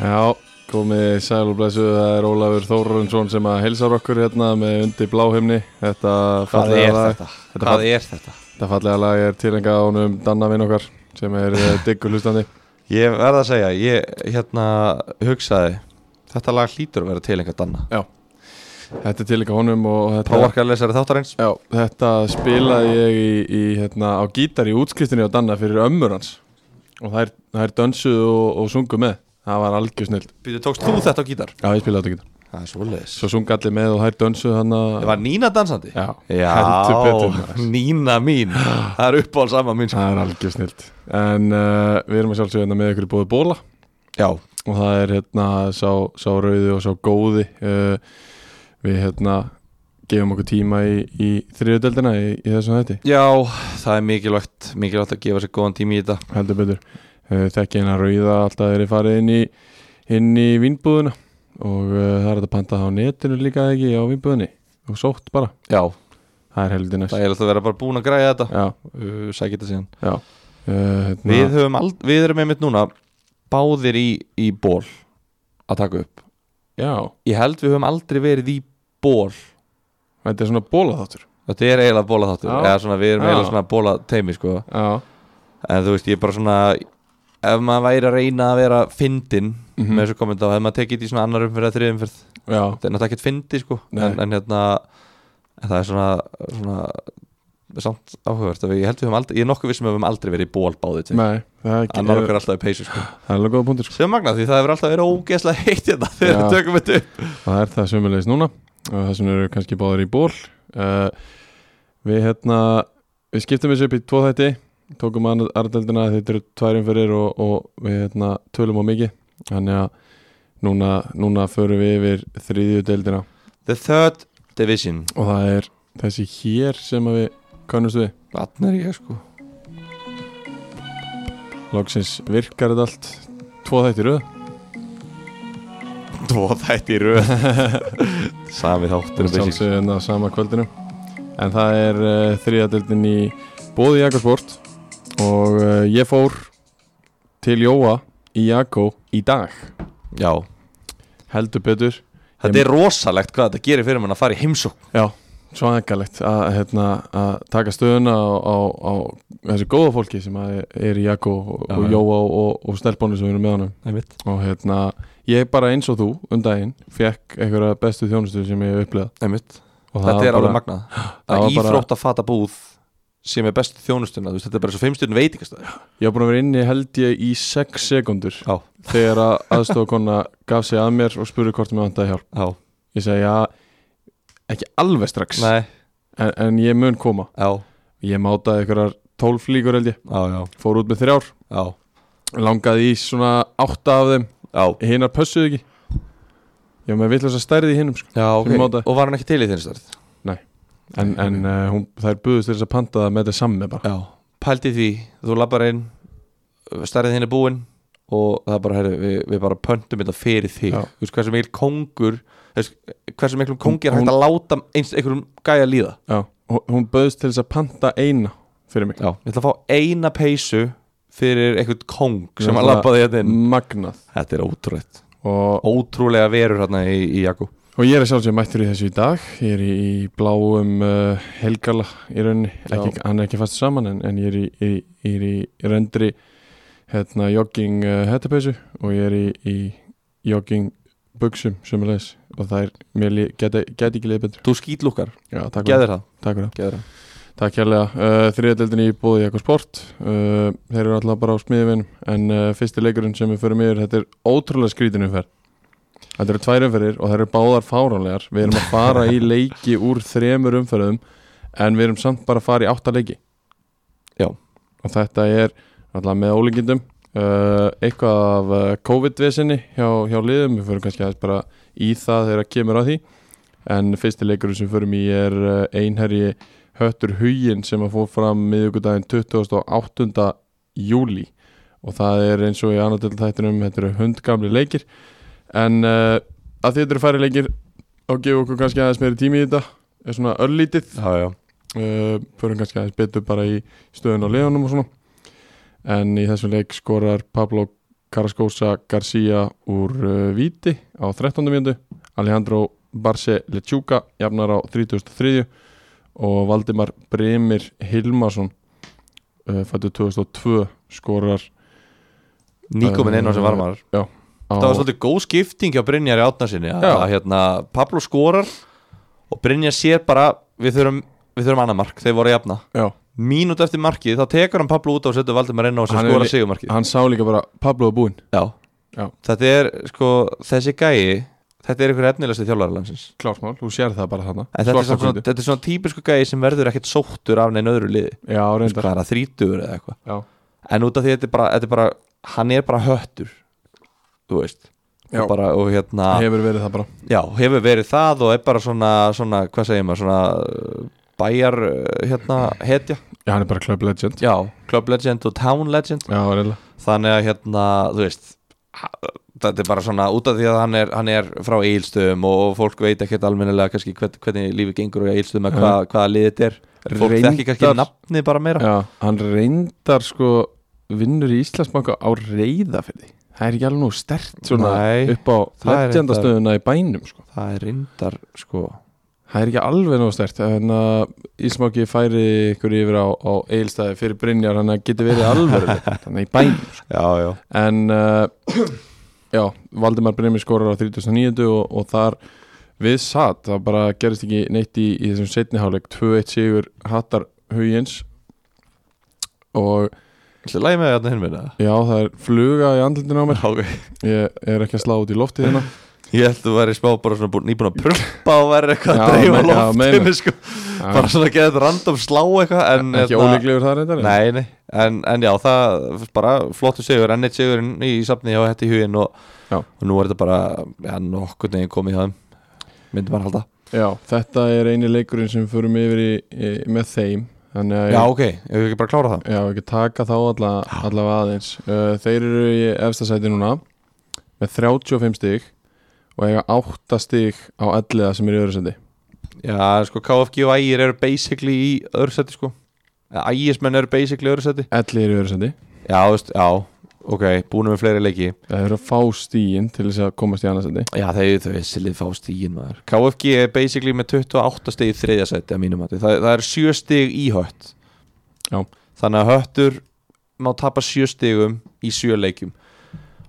Já, komið sæl og blessu, það er Ólafur Þórundsson sem að helsar okkur hérna með undir bláhimni Þetta Hvað fallega er lag- þetta? Þetta Hvað fall- er þetta? Þetta fallega lag er tilengað ánum Danna vinn okkar sem er eh, diggur hlustandi Ég verða að segja, ég hérna hugsaði Þetta lag hlýtur að vera til einhver danna Þetta er tilengað honum og þetta, Pávarkar lesari þáttarins já, þetta spilaði ég í, í, hérna, á gítar í útskriftinu á Danna fyrir ömmur hans og þær, þær dönsuðu og, og sungu með Það var algjör snill Býtu, tókst þú þetta á gítar? Já, ég spilaði þetta gítar Það er svoleiðis Svo sungu allir með og þær dönsuðu hann Það var Nína dansandi? Já, heldur betur Já, maður. Nína mín Það er uppáhald sama mín sko. Það er algjör snilt En uh, við erum að sjálfsögja hérna með ykkur í bóði bóla Já, Og það er hérna sá, sá rauði og sá góði uh, Við hérna gefum okkur tíma í, í þriðudeldina í, í þessum hætti já, það er mikilvægt Mikilvægt að gefa sér góðan tími í þetta Heldur betur uh, Þekki hérna rauða alltaf er ég farið inn í, inn í vínbúðuna Og uh, það er þetta pantað á netinu líka eða ekki á vínbúðinni Og sótt bara Já, Það er heldur næst það er alltaf að vera bara búin að græja þetta Já, Uh, Sækja þetta síðan já uh, hérna, Við höfum ald- við erum einmitt núna Báðir í, í ból Að taka upp Já, Ég held við höfum aldrei verið í ból þetta er svona bóla þáttur Þetta er eiginlega bólaþáttur Já. Eða svona við erum Já. eiginlega svona bólateimi sko Já, En þú veist ég er bara svona Ef maður væri að reyna að vera fyndin Mhm. Með þessu komenda og ef maður tekið þetta í svona annar umferð eða þriðum umferð já, Þetta er náttúrulega ekkert fyndi sko Nei. en, en hérna en Það er svona, svona Samt áhugavert að við- Ég held við höfum aldrei Ég er nokkuð vissum að við höfum aldrei verið í ból báði til nei Það er ekki- Annar okkar er alltaf í peysu sko Það er alveg góða punktur sko. Sem magna því það hefur alltaf verið ógeðslega heitt hérna Þegar Já. við tökum þetta upp Það er það sömulegis núna og þessum eru kannski báðir í ból uh, Við hérna við skiptum þessu upp í tvo þætti tókum aðardeldina þetta eru tvær umferðir og, og við hérna tölum á mikið þannig að núna, núna förum við yfir þriðju deildina The third division og það er þessi hér sem að við kannumst við Þannig er ég sko loksins virkar þetta allt tvo þætti í röð Tvo þætti í röð Sami þáttur Þetta er basically. sjálfsögðan á sama kvöldinu En það er uh, þriðadeldin í bóði Jakobsport Og uh, ég fór til Jóa í Jakó í dag Já, Heldur betur þetta er rosalegt hvað þetta gerir fyrir mann að fara í heimsókn Svangalegt að, hérna, að taka stöðuna á, á, á þessu góða fólki sem að er í Jakó og, Já, og já. Jóa og, og, og stelpónu sem eru með honum Einmitt. Og hérna, ég bara eins og þú um daginn Fekk einhverja bestu þjónustu sem ég hef upplegað Einmitt. Og það Þetta er var alveg bara- magnað það var að bara- íþrótt að fata búð sem er bestu þjónustuna þú veist, þetta er bara svo fimmstjörn veitingastæður Ég var búin að vera inni held ég í 6 sekundur Já. þegar að aðstofakonna gaf sig að mér og spurði hvort mér vantaði hjálp Já, Ég segi já, ekki alveg strax en, nei, en ég mun koma já, Ég mátaði einhverjar 12 flíkur held ég já, já fór út með þrjár, Já, langaði í svona 8 af þeim, já, hinnar pössuðu ekki Ég var með vitlega stærði í hinnum sko. já ok Sem mótaði. Og var hann ekki til í þeirri stærð? en, en uh, hún, þær buðust þess að panta það með þetta samme bara Já Pældi því, þú labbar inn stærðið þín er búinn og það er bara, herri, við, við bara pöntum þetta fyrir þig Já. Þú veist, hversu mikil kongur þú veist, hversu miklum kongi er Hún- hægt að láta eins einhverjum gæja líða Já, hún- hún buðust til þess að panta eina fyrir mig Já, ég ætla að fá eina peysu fyrir einhvern kong sem Ég að ætla- Mm. labbaði hérna inn Magnað Þetta er ótrúlegt og, Ótrúlega verur hérna í, í Jakku Og ég er sjálfsög mættur í þessu í dag, ég er í, í bláum uh, helgala í rauninni, ekki, hann er ekki fast saman en, en ég er í, í, ég er í rendri hérna jogging uh, hettapeysu og ég er í, í jogging buksum sömulegis og það er, mér li- geta, geta ekki liðið betur. Þú skýtlúkar, Já, takk fyrir, geður það takk fyrir það. Geður það Takk hérlega, uh, þriðadeldin í bóði Jakko Sport, uh, þeir eru alltaf bara á smíðvinn en uh, fyrsti leikurinn sem við förum yfir, þetta er ótrúlega skrítin umferð. Þetta eru tvær umferðir og það eru báðar fáránlegar. Við erum að fara í leiki úr þremur umferðum en við erum samt bara að fara í átta leiki. Já. Og þetta er alltaf með ólíkindum. Uh, eitthvað af uh, COVID-vesinni hjá, hjá liðum. Við förum kannski aðeins bara í það þegar að kemur að því. En fyrsti leikurinn sem við förum í er uh, einherji Höttur Hugin sem að fór fram miðugudaginn 28. júli og það er eins og í annaðil þættinum, þetta eru hundgamli leikir En uh, að því þetta eru færi leikir þá gefum okkur kannski aðeins meiri tími í þetta er svona örlítið Já, já uh, förum kannski aðeins betur bara í stöðun á liðunum og svona en í þessum leik skorar Pablo Karaskósa Garcia úr uh, Víti á 13. mjöndu Alejandro Barce Lechuga jafnar á 33. og Valdimar Bremir Hilmarsson uh, fættu 2002 skorar Nýkomin inn á sem varmar á, Það var svolítið góð skipting hjá Brynjar í átnarsinni að, Já. að hérna, Pablo skorar og Brynjar sér bara við þurfum, við þurfum annað mark, þeir voru að jafna já, mínút eftir markið, þá tekur hann Pablo út á og setur Valdimar inn á sem Hann er skorar li- sigumarkið hann sá líka bara Pablo að búinn Já. Já. Þetta er, sko, þessi gæi þetta er ykkur efnilegsti þjálfaralandsins klármál, þú sér það bara þarna en þetta er, Svart á svona, hvítu. þetta er svona típisku gæi sem verður ekkert sóttur af neina öðru liði Já, reyndar bara þrítugur eða eitthvað Já. en út af því þetta er bara, þetta er bara hann er bara höttur þú veist Já. og, bara, og hérna hefur verið það bara Já, hefur verið það og er bara svona, svona hvað segir maður, svona uh, bæjar, uh, hérna, hetja Já, hann er bara club legend Já, club legend og town legend Já, reyndar þannig að hérna, þú veist ha- þetta er bara svona út af því að hann er, hann er frá eilstöðum og fólk veit ekkert almennilega kannski hvern, hvernig lífi gengur og eilstöðum að hva, hvaða liðið þetta er fólk Reyndar- þekki kannski nafni bara meira Já, hann reyndar sko vinnur í Íslandsbanka á reyða fyrir því Það er ekki alveg nú stert svona Nei, upp á það er legendastöðuna í bænum sko. það er reyndar, sko Það er ekki alveg nú stert en að Íslandsbanki færi ykkur yfir á, á eilstæði fyrir Brynjar þannig að geti verið alveg þannig í bænum Já, já, en uh, já, Valdimar Brynmi skorar á 39. og, og þar við satt, það bara gerist ekki neitt í, í þessum setniháleik 2-1 sigur hattar hugins og ætlaði lægi með hérna hinn minna já, það er fluga í andlutinu á mér Ok, ég er ekki að slá út í lofti hérna ég held að þú væri smá bara svona búin, nýbúin að prumpa og væri eitthvað að Já, dreifa men- já, loftinu meina. sko Já, bara svona að geta þetta random slá eitthvað en ekki hérna- ólíklegur það reyndar en- nei, nei, en, en já, það bara flottu sigur, enn eitt sigurinn í safni hjá hætti í huginn og, Já. og nú er þetta bara ja, nokkurn veginn komið hjá þeim myndi maður halda já, þetta er eini leikurinn sem förum yfir í, í, með þeim þannig að já, ok, ef við ekki bara klára það Já, ekki taka þá alla, allavega aðeins uh, Þeir eru í efstasæti núna með 35 stig og eiga 8 stig á elliða sem er í öðru sendi já, sko, KFG og Ægir eru basically í öðru seti sko Ægismenn eru basically í öðru seti Ellið er í öðru sendi já, þú veist, já, ok, búinu með fleiri leiki Það eru að fá stíin til þess að komast í annað sendi já, þeir þau silið fá stígin maður KFG er basically með 28 stig í þriðja seti að mínum mati, Þa, það er 7 stig í hött Já. þannig að höttur má tapa 7 stigum í 7 leikjum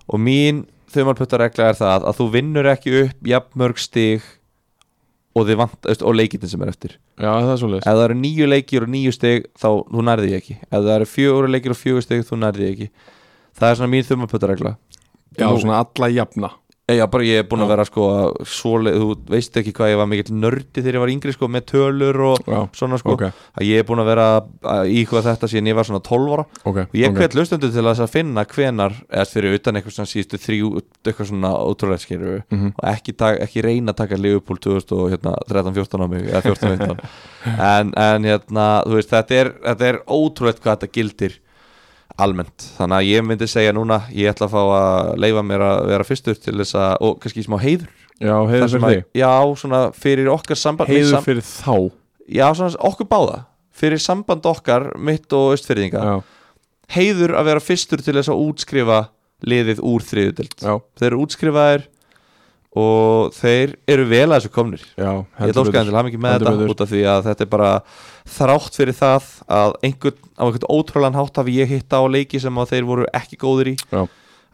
og mín þumalputtaregla er það að þú vinnur ekki upp jafnmörg stig og, þið vant, veist, og leikitin sem er eftir Já, það er ef svoleiðis það eru nýju leikir og nýju stig þá þú nærði ég ekki ef það eru fjögur leikir og fjögur stig þú nærði ég ekki það er svona mín þumalputtaregla Já, svona alla jafna Ég, já, bara ég er búin að Já. vera sko svoleið, þú veist ekki hvað ég var mikill nördi þegar ég var yngri sko með tölur og Já, svona sko ok, að ég er búin að vera að íhuga þetta síðan ég var svona 12 ára ok og ég ok. okay. hvet lustendur til þess að finna hvenar eða fyrir utan eitthvað svona síðustu þrjú eitthvað svona ótrúlega skeru Mhm. og ekki, tak, ekki reyna að taka Liverpool 2013-14 hérna, á mig eða 14-15 en, en hérna, þú veist, þetta er, þetta er ótrúlegt hvað þetta gildir almennt, þannig að ég myndi segja núna ég ætla að fá að leifa mér að vera fyrstur til þess að, og kannski smá heiður Já, Þar heiður sem fyrir að, þig já, svona fyrir okkar samband mitt Heiður sam- fyrir þá já, svona okkur báða fyrir samband okkar, mitt og östfyrðinga Já, heiður að vera fyrstur til þess að útskrifa liðið úr þriðutild já, þeir eru útskrifaðir og þeir eru vel að þessu komnir já ég ætla óskaðan til hamingi með Heldur þetta betur. út af því að þetta er bara þrátt fyrir það að einhvern, á einhvern ótrúlan hátt hafi ég hitta á leiki sem að þeir voru ekki góðir í Já.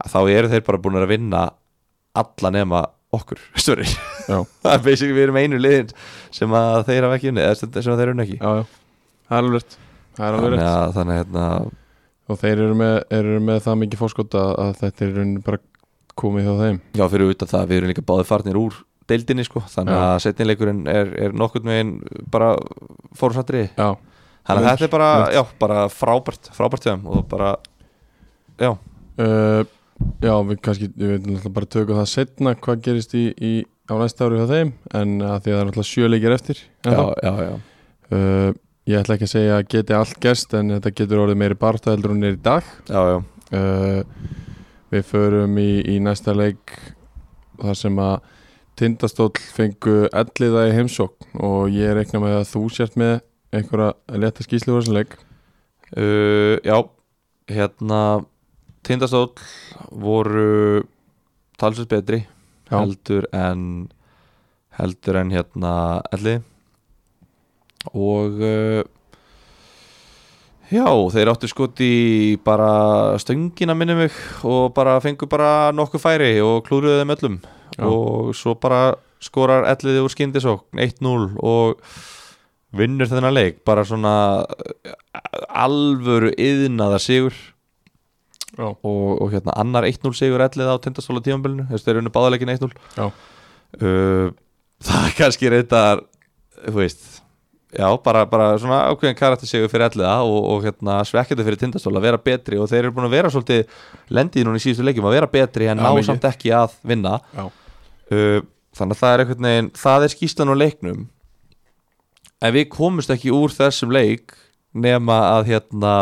að þá eru þeir bara búin að vinna alla nema okkur störi Já. það er basically við erum einu liðin sem að þeir hafa ekki unni eða sem sem að þeir eru ekki Já, já, það er alveg rétt Það er alveg þannig rétt að, þannig að hérna, Og þeir eru með, eru með það mikið fórskot að, að þetta er í rauninni bara komið hjá þeim Já, fyrir utan það að við erum líka báðið farnir úr deildinni sko, þannig Já. að setnileikurinn er, er nokkurn veginn bara fórsatri Já, þannig að Vel, þetta er bara, vel. já, bara frábært frábært hjá þeim og bara uh, já við kannski við náttúrulega bara tökum það setna hvað gerist í, í, á næsta ári hjá þeim en að því að það er náttúrulega sjöleikir eftir já, ennþá. já, já. uh, Ég ætla ekki að segja að geti allt gerst en þetta getur orðið meiri barta heldur hún er í dag Já, já. uh, Við förum í, í næsta leik þar sem að Tindastóll fengu elliða í heimsókn og ég reikna með að þú sért með einhverja leta skýslu úr þessum leik Uh, já hérna tindastóll voru talsvist betri Já. heldur en heldur en hérna elli og uh, já, þeir áttu skot í bara stöngina minni mig og bara fengu bara nokkuð færi og klúruðu þeim öllum Já. og svo bara skorar elliði úr skyndisókn 1-0 og vinnur þennan leik bara svona eh, alvöru yðnaða sigur Já. og, og hérna annar 1-0 sigur ellið á tindastóla tímanbölinu þess að þeir unnu báðalegin 1-0 Já. uh, það er kannski reyndar þú veist já, bara, bara svona ákveðin karakter sigur fyrir elliða og, og hérna svekkjandi fyrir tindastóla að vera betri og þeir eru búin að vera svolítið lendið núna í síðustu leikjum að vera betri en Já, ná mikið. samt ekki að vinna Já. uh, þannig að það er einhvern veginn það er skýstan á leiknum en við komumst ekki úr þessum leik nema að hérna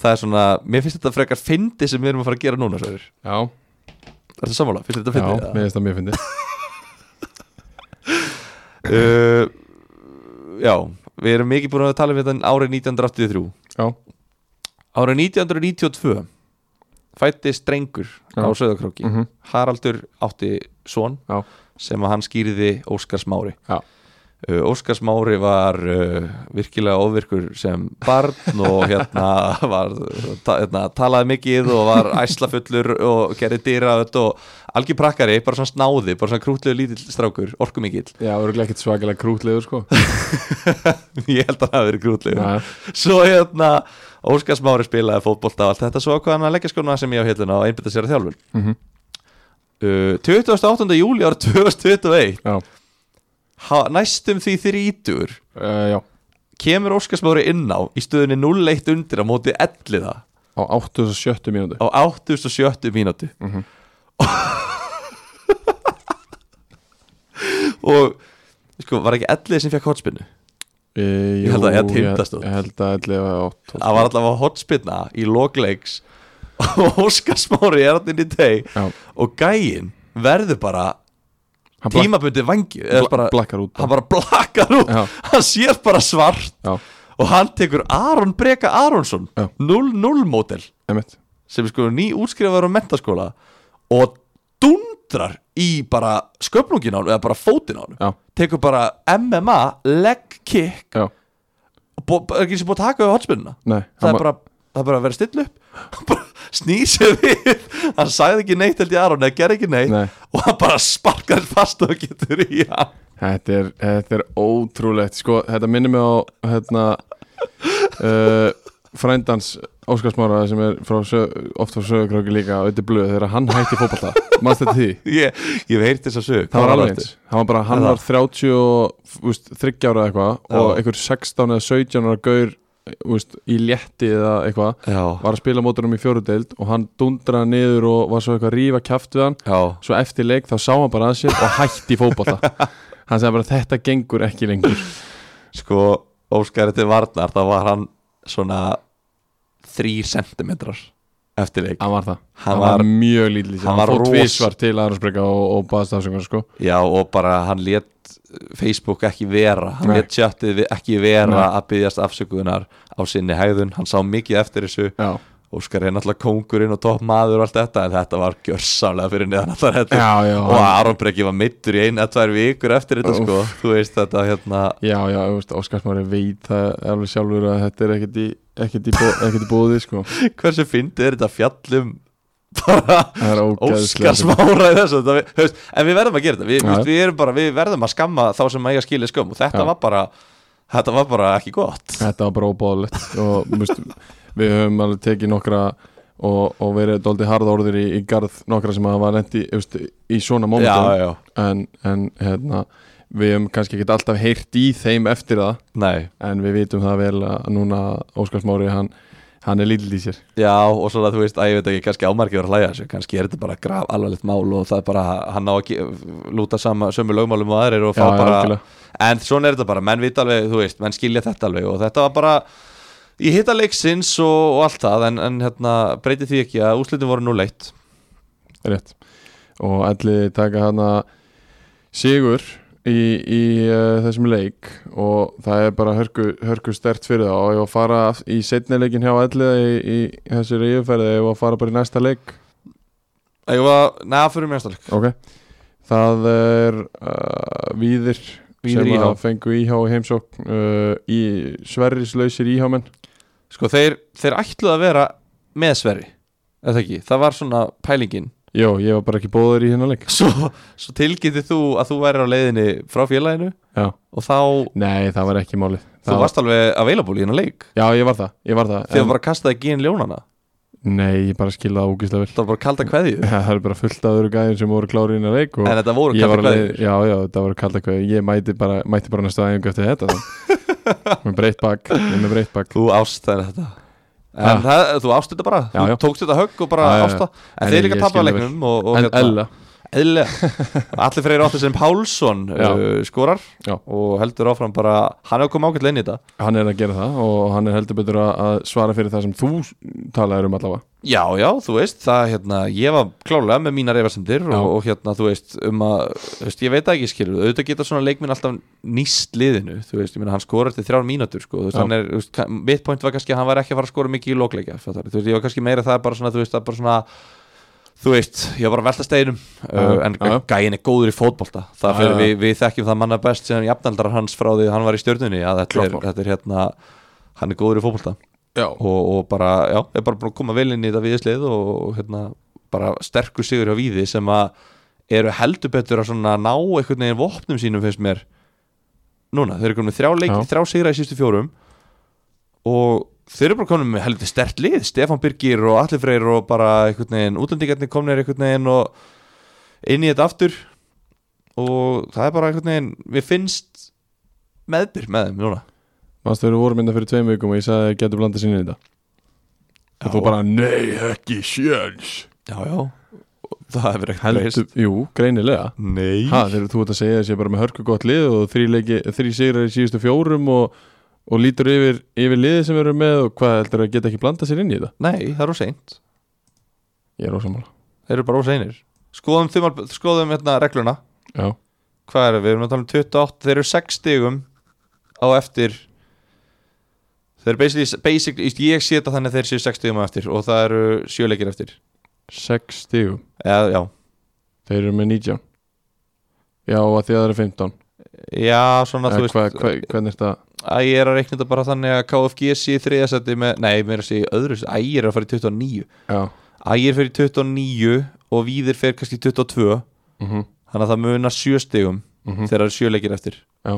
það er svona, mér finnst þetta frekar fyndi sem við erum að fara að gera núna Sverir. Já, Er þetta sammála? Finnst þetta já, fyndi? mér finnst það mjög fyndið uh, já, við erum mikið búin að tala um þetta árið 1983 Já. Árið 1992 fættist drengur Já. á Söðakróki Mhm. Haraldur átti son Já. sem að hann skýrði Óskars Mári Já. Uh, Óskars Mári var uh, virkilega ofvirkur sem barn og hérna, var, ta, hérna talaði mikið og var æslafullur og gerði dýraðut og algjör prakkari, bara svona snáði bara svona krútlegu lítill strákur, orkumikill Já, örgulega ekkert svakalega krútlegur sko ég held að það hafi verið grútlegur Já, svo hérna Óskars Mári spilaði fótbolta og allt þetta svo ákvað hann að leggja skona sem ég á hilluna og einbytta sér að þjálfun Mhm. uh, 28. júli ára 2021 já, ha, næstum því þrítur uh, já. kemur Óskars Mári inn á í stöðunni 0-1 undir á móti elliða á 87 mínúti á 87. mínúti Mhm. og sko, var ekki ellið sem fekk hotspinnu e, jú, held að ég ég- tindast út. Ég held að ætli að það var allavega hotspinna í logleiks og Óskar Smári er hann inn í teg Já. og gæinn verður bara hann blak- tímabundi vangi eða bla, bara, blakkar út hann bara blakkar út Já. hann sér bara svart Já, og hann tekur Aron Breka Aronsson Já. 0-0 mótel emitt sem er sko ný útskrifaður á mentaskóla og dundrar í bara sköpnungin á hann eða bara fótinn á hann Já, tekur bara MMA leg kick já, og bú- er ekki sem búið að taka við hotspinnuna nei það hann er var- bara, það er bara að vera still upp hann bara snýr sér við hann sagði ekki neitt held ég Aron eða gerði ekki neitt Nei. og hann bara sparkar fast og getur í hann Þetta er, þetta er ótrúlegt Sko, þetta minnir mig á hérna, uh, frændans Óskarsmára sem er frá sö, oft frá sögurkröki líka og þetta er blöð þegar hann hætti fótballta Manst þetta því? ég, ég hef heyrt þess að sög Það var alveg eins Það var bara, hann Það. var 30 og úst, 30 ára eða eitthvað og einhver 16 eða 17 ára gaur úst, í létti eða eitthvað já, var að spila mótunum í fjórudeild og hann dundraði niður og var svo eitthvað að rífa kjaft við hann já, svo eftir leik þá sá hann bara að sér og hætti fótbolta hann sagði bara þetta gengur ekki lengur sko Óskar til Varnar þá var hann svona þrý sentimetrar eftir leik hann var það, Hann hann var, var- mjög lítlítil hann, hann var fór ros- tvísvar til aðransbreyka og, og baðast afsöngar sko. já og bara hann let Facebook ekki vera hann Nei. let chatið við- ekki vera Nei. að byggjast afsökunar á sinni hæðun hann sá mikið eftir þessu já. Óskar er náttúrulega kóngurinn og topp maður og allt þetta en þetta var gjörsálega fyrir neðan allar þetta já, já, og hann, Aron Breki var meittur í eina tvær vikur eftir þetta Úff. sko þú veist þetta hérna já, já, þú veist, Óskarsmári veit það alveg sjálfur að þetta er ekkert í ekkert í, bó, ekkert í bóði sko. hversu fyndið er þetta fjallum bara það er ógæðslega Óskar smára í þessu þetta, við, höfst, en við verðum að gera þetta við, Já. við, við, erum bara, við verðum að skamma þá sem eiga skilið skömm og þetta Já. var bara þetta var bara ekki gott þetta var bara óbóðlegt og þú veist, við höfum alveg tekið nokkra og, og verið dóldi harða orðir í, í garð nokkra sem hafa lent í, þú veist, í svona já, mómentum já, en, en hérna, við höfum kannski ekki alltaf heyrt í þeim eftir það nei en við vitum það vel að núna Óskars Mári hann, hann er lítill í sér Já, og svona þú veist, að ég veit ekki, kannski ámarki verið að hlæja þessu, kannski er þetta bara graf alvarlegt mál og það er bara, hann á að ge- lúta sama, sömu lögmálum og aðrir og fá bara en svona er þetta bara, menn vita alveg, þú veist menn skilja þetta alveg og þetta var bara ég hitta leiksins og, og allt það en, en hérna, breyti því ekki að úslitin voru nú leitt rétt og allir taka hana sigur í, í uh, þessum leik og það er bara hörku, hörku stert fyrir það og ég var að fara aft- í setni leikin hjá alliða í, í þessari yfirferði ég var að fara bara í næsta leik Ég var, neða, fyrir mér stáleik ok það er uh, víðir, Víðir sem IH. að fengu íhá í heimsókn uh, í sverrislausir íhámen Sko, þeir, þeir ætluðu að vera með Sverri Eða ekki, það var svona pælingin Jó, ég var bara ekki bóður í hérna leik Svo, svo tilgæti þú að þú væri á leiðinni frá félaginu Já. Og þá, Nei, það var ekki málið þú Það- varst alveg að veila búli hérna leik Já, ég var það, ég var það Þegar bara kastaði ekki inn ljónana Nei, ég bara skilðaði úkislega vel Það var bara kalda kveðju Það er bara fullt af öðru gæðin sem voru klári í hérna leik og En þetta voru ég var kalda alveg, kveðju já, já, þetta voru kallt eitthvað ég mæti bara, mæti bara næstu aðeins eftir þetta þá. með breytt bak ég er með breytt bak Þú ástæðir þetta Ah. En það, þú ástu þetta bara, Já, já. þú tókst þetta högg og bara Já, já, já. ásta En En þeir ég líka skil tappa það leiknum og, og hérna- en Ella, eðlilega Allir freyri átti sem Pálsson Já. uh, skorar Já. og heldur áfram bara Hann hefur komið ágætlega inn í þetta hann er að gera það og hann er heldur betur að, að svara fyrir það sem þú talaðir um allavega Já, já, þú veist, það, hérna, ég var klálega með mínar efasemdir og, Já. og hérna, þú veist, um að, þú veist, ég veit það ekki skilur, auðvitað geta svona leikminn alltaf nýst liðinu, þú veist, ég meina, hann skorar til þrjár mínútur, sko, þú veist, Já. hann er, þú veist, mitt point var kannski að hann var ekki að fara að skora mikið í lokleika, fattar, þú veist, ég var kannski meira það bara svona, þú veist, það bara svona, þú veist, ég var bara að velta steinum, uh, en já. gæin er góður í fótbolta, það Já, fyrir, já. við, við þekkjum það manna best sem jafnaldrar hans frá því að hann var í stjörnunni, að þetta er, Klart mál. þetta er hérna, hann er góður í fótbolta já, og, og bara, já, er bara búin að koma vel inn í þetta viðislið og, og hérna, bara sterkur sigur hjá víði sem að eru heldur betur að svona ná einhvern veginn vopnum sínum finnst mér núna, þeir eru komin með þrjá leik, Já. þrjá sigra í sístu fjórum og þeir eru bara komin með heldur stert lið, Stefan Birgir og Atli Freyr og bara einhvern veginn útlendingarnir komnir einhvern veginn og inn í þetta aftur og það er bara einhvern veginn, við finnst meðbyr með þeim núna mannstu við vorum mynda fyrir tveim vikum og ég sagði getur blandað sinni í þetta og þú bara, nei, ekki sjöns Já, já, og það hefur ekkert heldur, jú, greinilega Nei ha, þegar þú ert að segja þessi bara með hörku gott lið og þrý, leiki, þrý sigrar í síðustu fjórum og, og lítur yfir, yfir liðið sem við erum með og hvað heldur að geta ekki blandað sér inn í þetta Nei, það er óseint ég er ósamála Þeir eru bara óseinir Skoðum, þumal, skoðum hérna regluna já, Hvað er það? Við erum að tala um 28 Þeir eru 6 stigum á eftir Þeir eru basically, basically þú veist, Ég sé þetta þannig að þeir séu 6 stigum á eftir Og það eru 7 leikir eftir sex stígum Eða, Já, Þeir eru með 19 Já, og að því að það eru 15 já svona þú Eða veist hva, hva, Hvernig er þetta? Æ, ég er að reikna þetta bara þannig að KFG sé í þriðasetti með Nei, mér er að sé í öðru sæti. Æ, ég er að fara í 29 Já Æ, ég er fyrir 29 Og Víðir fer kannski í 22 mm -hmm. Þannig að það munar 7 stigum mhm. þegar það eru sjöleikir eftir Já.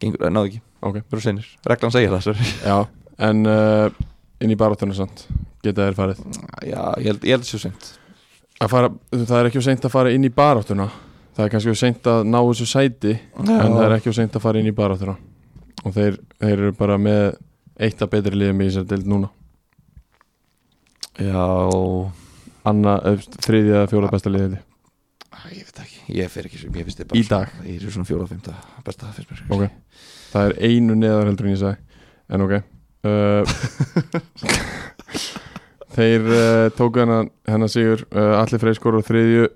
Gengur, eh, náðu ekki, Ok verður seinir Reglan segir það, sér Já, en uh, inn í barátunum samt Geta þeir farið Já, ég held, ég held sér seint Að fara, Það er ekki of seint að fara inn í baráttuna Það er kannski of seint að ná þessu sæti En það er ekki of seint að fara inn í baráttuna Og þeir, þeir eru bara með Eitt af betri liðum í þessar deild núna Já, Anna, öfst, þriðja eða fjóra besta liðið Æ, ég veit ekki, ég fer ekki sem ég finnst Í þið bara dag svona- Ég er svona fjóra og fymta, besta það finnst mér Ok. Það er einu neðar heldur en ég sagði En ok uh, Þeir uh, tóku hennan, hennan sigur uh, Allir Freyr skorur á þriðju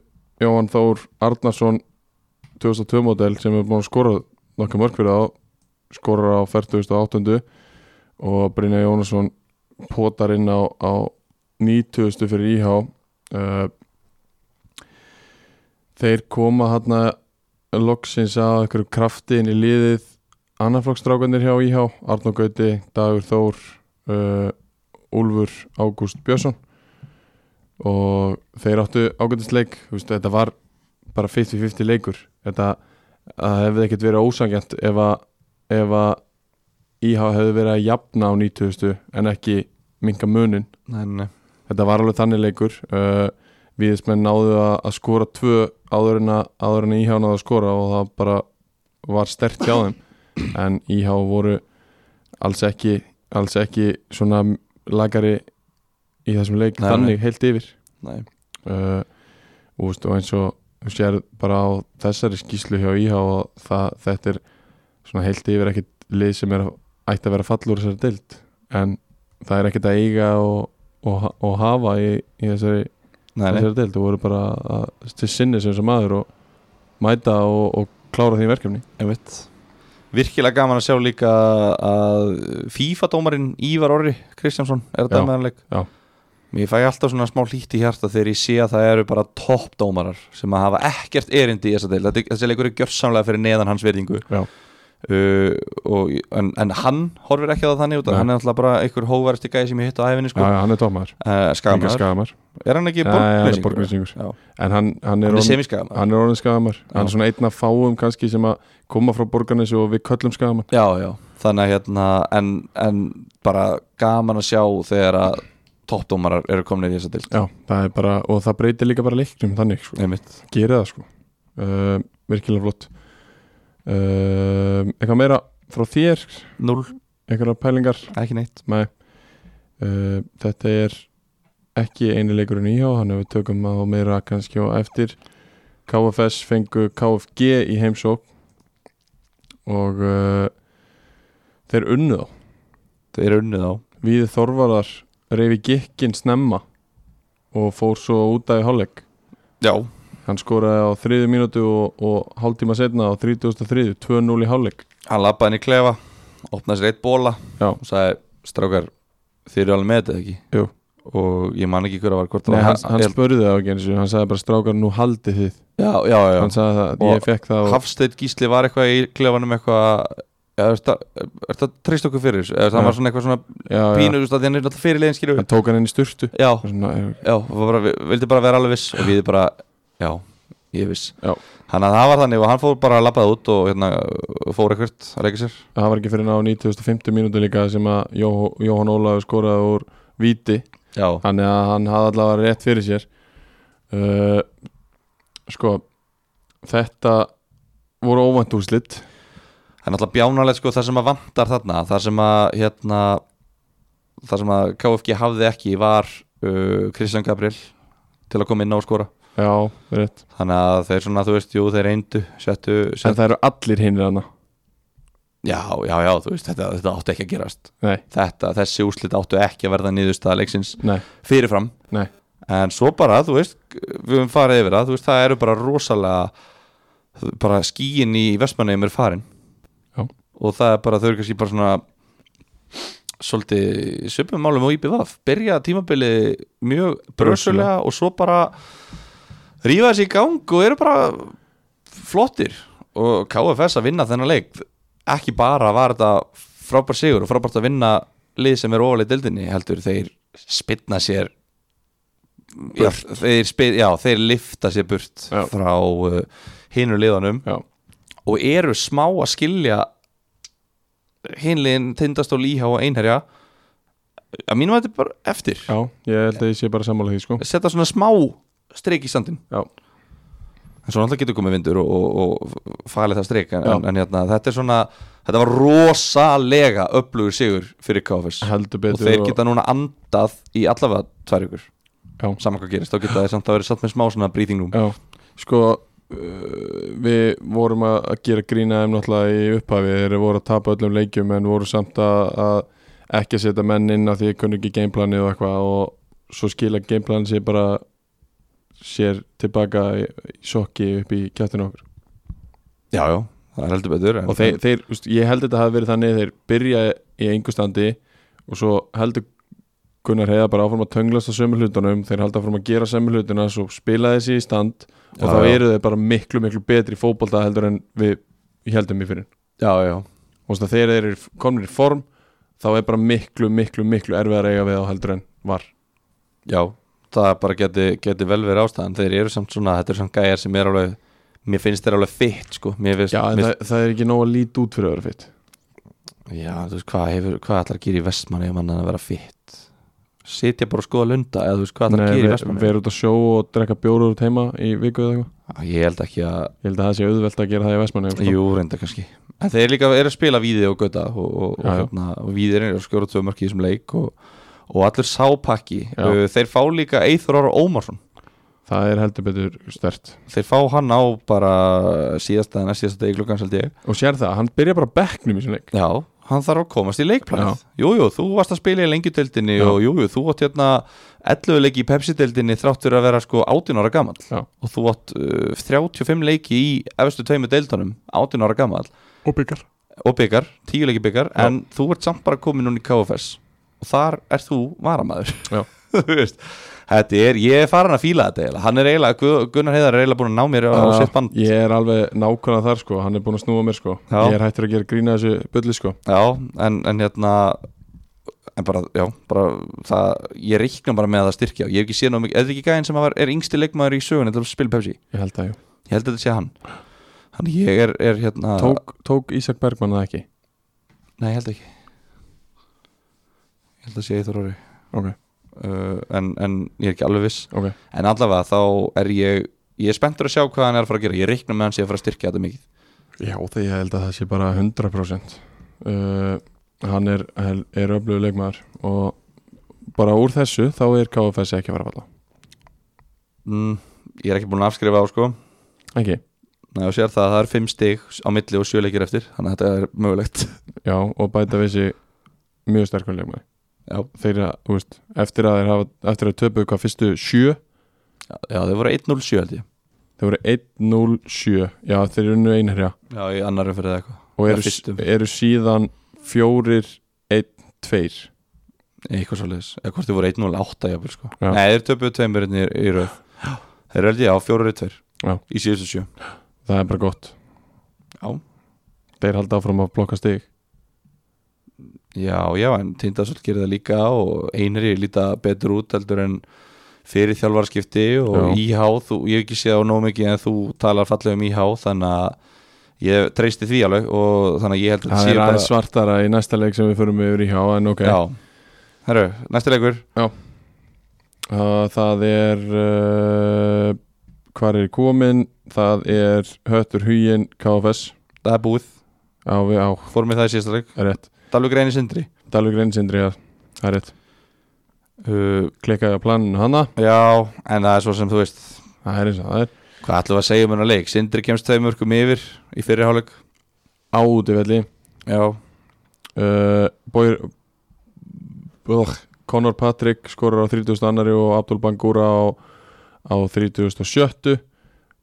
Jóhann Þór Arnarsson 2002 model sem er búin að skora nokkuð mörg fyrir þá skorur á 40.8 og Brynja Jónasson potar inn á, á 90. fyrir IH uh, Þeir koma hérna loksins að einhverju krafti inn í liðið annarflokkstrákanir hjá IH Arnó Gauti, Dagur Þór uh, Úlfur Ágúst Björnsson og þeir áttu ágætisleik Vistu, þetta var bara 50-50 leikur þetta það hefði ekkert verið ósangjant ef að, ef að IH hefði verið að jafna á 90 en ekki minka munin Nei, nei, nei. þetta var alveg þannig leikur uh, viðismenn náðu að, að skora tvö áður en að, áður en að IH náðu að skora og það bara var stert hjá þeim en IH voru alls ekki, alls ekki svona lagari í þessum leik Nei, þannig heilt yfir nei. uh, og, veist, og eins og þú sér bara á þessari skýslu hjá IH og það, þetta er svona heilt yfir ekkit lið sem er, ætti að vera fall úr þessari deild en það er ekkit að eiga og, og, ha- og hafa í, í þessari, Nei, nei. þessari deild og voru bara að, til sinni sem sem maður og mæta og, og klára því verkefni Einmitt. Virkilega gaman að sjá líka að FIFA-dómarinn Ívar Orri Kristjánsson er að Já, dæma þennan leik já. Mér fæ alltaf svona smá hlýtt í hjarta þegar ég sé að það eru bara toppdómarar sem að hafa ekkert erindi í þessa deil Þetta- Þessi leikur er gjörsamlega fyrir neðan hans verðingu Já. uh, og, en, en hann horfir ekki á það þannig út Nei. að hann er alltaf bara einhver hóvarasti gæði sem ég hitt á æfinni Já, sko. já, hann er tómaður, uh, líka Skagamæður, skagamar er hann ekki hann er borgmessingur? borgmessingur Já. En hann, hann er Hann er orðinn- semiskagamæður hann er orðin skagamar Hann er Já. svona einn af fáum kannski sem að koma frá borgarnes og við köllum skagamann Já, já, þannig að hérna en, en bara gaman að sjá þegar að toppdómarar eru komin í þessa dild Já, það er bara, og það breytir líka bara leiknum þannig, sko, Einmitt. gerir það sko uh, virkilega flott uh, eitthvað meira frá þér, Null, eitthvað pælingar ekki neitt Nei uh, Þetta er ekki eini leikurinn íhá þannig að við tökum á meira kannski og eftir KFS fengu KFG í heimsók og uh, þeir unnu þá Þeir eru unnið á Við Þorvarðar reyfi gikkin snemma og fór svo út af í hálfleik Já, hann skoraði á þriðu mínútu og, og hálftíma setna á 33 2-0 í hálfleik hann lappaði inn í klefa opnaði sér eitt bóla Já. og sagði, strákar, þeir eru alveg með þetta ekki Jú. Og ég man ekki hver að var hvort það Nei, var hann, hann ég- spurði það ekki eins og hann sagði bara strákar nú haldið þið Já, já, já, hann sagði það, Og ég fekk það og, Hafsteinn Gísli var eitthvað í klefanum eitthvað Já, er þetta treyst okkur fyrir þessu? Eða, Það Já. var svona eitthvað svona já, já, pínu, þú veist, að hann er alltaf fyrirlegin skilur hann tók hann inn í sturtu Já, svona, er- Já, og bara, vi- vildi bara vera alveg viss og við bara, já, ég er viss Já. Hann að það var þannig og hann fór bara að labbaða út og hérna, fór eitthvert að leika sér það var ekki fyrir á 9050 mínútu líka sem að Jó, Jóhann Ólafur skoraði úr víti Já, þannig að hann hafði allavega rétt fyrir sér uh, sko þetta voru óvænt úrslit það er náttúrulega bjánalegt sko það sem að vantar þarna það sem að, hérna, það sem að KFG hafði ekki var uh, Kristján Gabriel til að koma inn á og skora já, rétt Þannig að þeir svona, þú veist, jú, þeir reyndu, settu, en settu það eru allir hinnir hana Já, já, já, þú veist, þetta, þetta átti ekki að gerast nei, Þetta, þessi úrslit áttu ekki að verða niðurstaða leiksins nei, fyrirfram Nei. en svo bara, þú veist við höfum farið yfir það, þú veist, það eru bara rosalega bara skíin í Vestmanneum er farin Já. og það er bara, þau eru kannski bara svona svolítið svipum málum og IPVF, byrja tímabili mjög brösulega og svo bara rífa þessi í gang og eru bara flottir og KFS að vinna þennan leik ekki bara var þetta frábær sigur og frábært að vinna lið sem er ofalega dildinni heldur þeir spilna sér já, þeir, spil, já, þeir lifta sér burt Já. frá uh, hinu liðanum já, og eru smá að skilja hinliðin tindastól íhá og einherja að mínum að þetta er bara eftir já, ég held að ég sé bara sammála því sko setja svona smá streik í standin Já. en svo náttúrulega getur komið vindur og, og, og falið það streik en, Já. en, en hérna, þetta er svona þetta var rosalega upplugur sigur fyrir KFS heldur og betur þeir geta núna andað í allavega tvær ykkur Já. saman hvað gerist, þá geta þeir samt að vera satt með smá svona breathing room Já, sko uh, við vorum að að gera grína þeim náttúrulega í upphafi þeir voru að tapa öllum leikjum en voru samt að, að ekki að setja menn inn af því að kunni ekki gameplanið og eitthvað og svo skila gameplanið sér bara sér tilbaka í, í sjokki upp í kjættinu okkur já, já, það er heldur betur en- og þeir, þeir úst, ég held þetta hafi verið þannig þeir byrja í einhver standi og svo heldur Gunnar Heiða bara áfram að tönglast á sömu hlutunum þeir halda áfram að gera sömu hlutuna svo spila þessi í stand og Já, þá já. eru þeir bara miklu miklu betri í fótbolta heldur en við heldum í fyrir já, já, og þess að þegar þeir eru komnir í form þá er bara miklu miklu miklu erfiðar eiga við á heldur en var já það bara geti, geti vel verið ástæðan þeir eru samt svona, þetta eru samt gæjar sem er alveg mér finnst þeir alveg fitt sko mér finnst, já en mér, það, það er ekki nóg að líti út fyrir öðru fitt já, þú veist, hvað, hefur, hvað ætlar að gera í vestmanni ef mann að vera fitt sitja bara og skoða lunda eða þú veist, hvað ætlar að gera í við, vestmanni við erum út að sjó og drekka bjóru út heima í viku eða eitthvað ég held ekki að ég held að það sé auðvelt að gera það í sko. Vestmanni Jú, reynda kannski En þeir líka eru að spila víði og göta og, og, og, Já, já. hérna, og víðir eru að skjóra tvö mörki í þessum leik og, og allur sápakki Já. uh, Þeir fá líka Eithor Ára Ómarsson það er heldur betur stert Þeir fá hann á bara síðasta, næst síðasta degi klukkans held ég og sér það, hann byrja bara á bekknum í svona leik Já, hann þarf að komast í leikplanið jújú, jú, þú varst að spila í lengjudeldinni Já. og jújú, jú, þú átt hérna 11 leiki í Pepsi-deldinni þrátt fyrir að vera sko 18 ára gamall Já. og þú átt uh, 35 leiki í efstu tveimu deildunum, 18 ára gamall og byggar og byggar, 10 leiki byggar Já. en þú ert samt bara komin núna í KFS og þar er þú varamæður Já. þú veist Þetta er, ég er farin að fíla þetta eiginlega Hann er eiginlega, Gu- Gunnar Heiðar er eiginlega búin að ná mér á uh, sitt band ég er alveg nákvæmlega þar sko, hann er búin að snúa mér sko Já. ég er hættur að gera grína þessu bulli sko Já, en, en hérna en bara, já, bara það, ég reikna bara með að það styrkja ég hef ekki séð náðu mikið, er þetta ekki gæðin sem að var, er yngsti leikmaður í sögun til að spila Pepsi, ég held að, jú. ég held að þetta sé hann hann ég er, er hérna tók, tók Ísak Bergman það ekki nei, ég held ekki ég held að sé Íþór Óri uh, ok, en, en ég er ekki alveg viss ok, en allavega þá er ég ég er spenntur að sjá hvað hann er að fara að gera ég reikna með hann sé að fara að styrkja þetta mikið já þegar ég held að það sé bara 100% uh, hann er, er öflugur leikmaður og bara úr þessu þá er KFS ekki að fara að falla mm, ég er ekki búin að afskrifa á sko ekki, Nei, og sér það að það er fimm stig á milli og sjöleikir eftir þannig að þetta er mögulegt já og bæta við sig mjög sterkur leikmaður Já, þeir að, þú veist, eftir að þeir hafa eftir að töpu hvað fyrstu sjö já þau voru 1-0-7 held ég þeir voru 1-0-7 já þeir eru nú einherja Já, í annar umferð eða eitthvað og Já, fyrstu. eru, eru síðan fjórir, einn, tveir Eitthvað svoleiðis, eða hvort þau voru 1-0-8 jafnvel sko Já. Nei, þeir töpuðu tveimur hérna í, í röð Þeir eru held ég á 4-2 Já. Í síðustu sjö það er bara gott Já. þeir halda áfram að blokka stig Já, já, en Tindasöld gerir það líka og einri líta betur út heldur en fyrir þjálfarskipti og IH, þú, ég hef ekki séð á nóg mikið en þú talar fallega um IH þannig að ég treysti því alveg og þannig að ég held að það þetta sé er bara- aðeins svartara í næsta leik sem við förum yfir í hjá en ok, Já, herru, næsti leikur Uh, það er uh, hvar er komin það er Höttur Hugin KFS Það er búið, á við á, fórum við það í síðasta leik er rétt Dalvik reynir sindri Dalvik Reynsindri, já, það er rétt uh, klikkaði á planinu hana Já, en það er svo sem þú veist það er eins og það er Hvað ætlum við að segja um hennar leik? Sindri kemst tveim örkum yfir í fyrirháleik á útivelli Já, uh, Bóir uh, Conor Patrick skorur á 30. annari og Abdul Bangura á, á 37.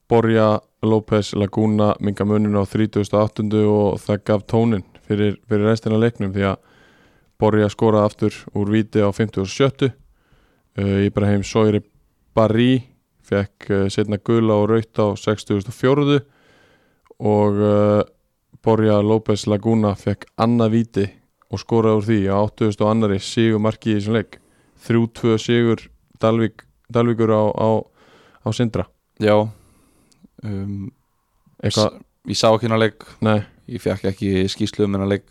Borja López Laguna minga munin á 38. og það gaf tónin fyrir, fyrir restina af leiknum því að Borja skoraði aftur úr viti á 57. Uh, Ibrahim Sóri Barri fekk uh, setna gula og raut á 64. og uh, Borja López Laguna fekk annað víti og skoraði úr því á 8000 og annari sigur marki í þessum leik 3-2 sigur Dalvík, Dalvíkur á, á, á Sindra já um, eitthvað, Ég sá ekki hennar leik nei, Ég fekk ekki skýslu um hennar leik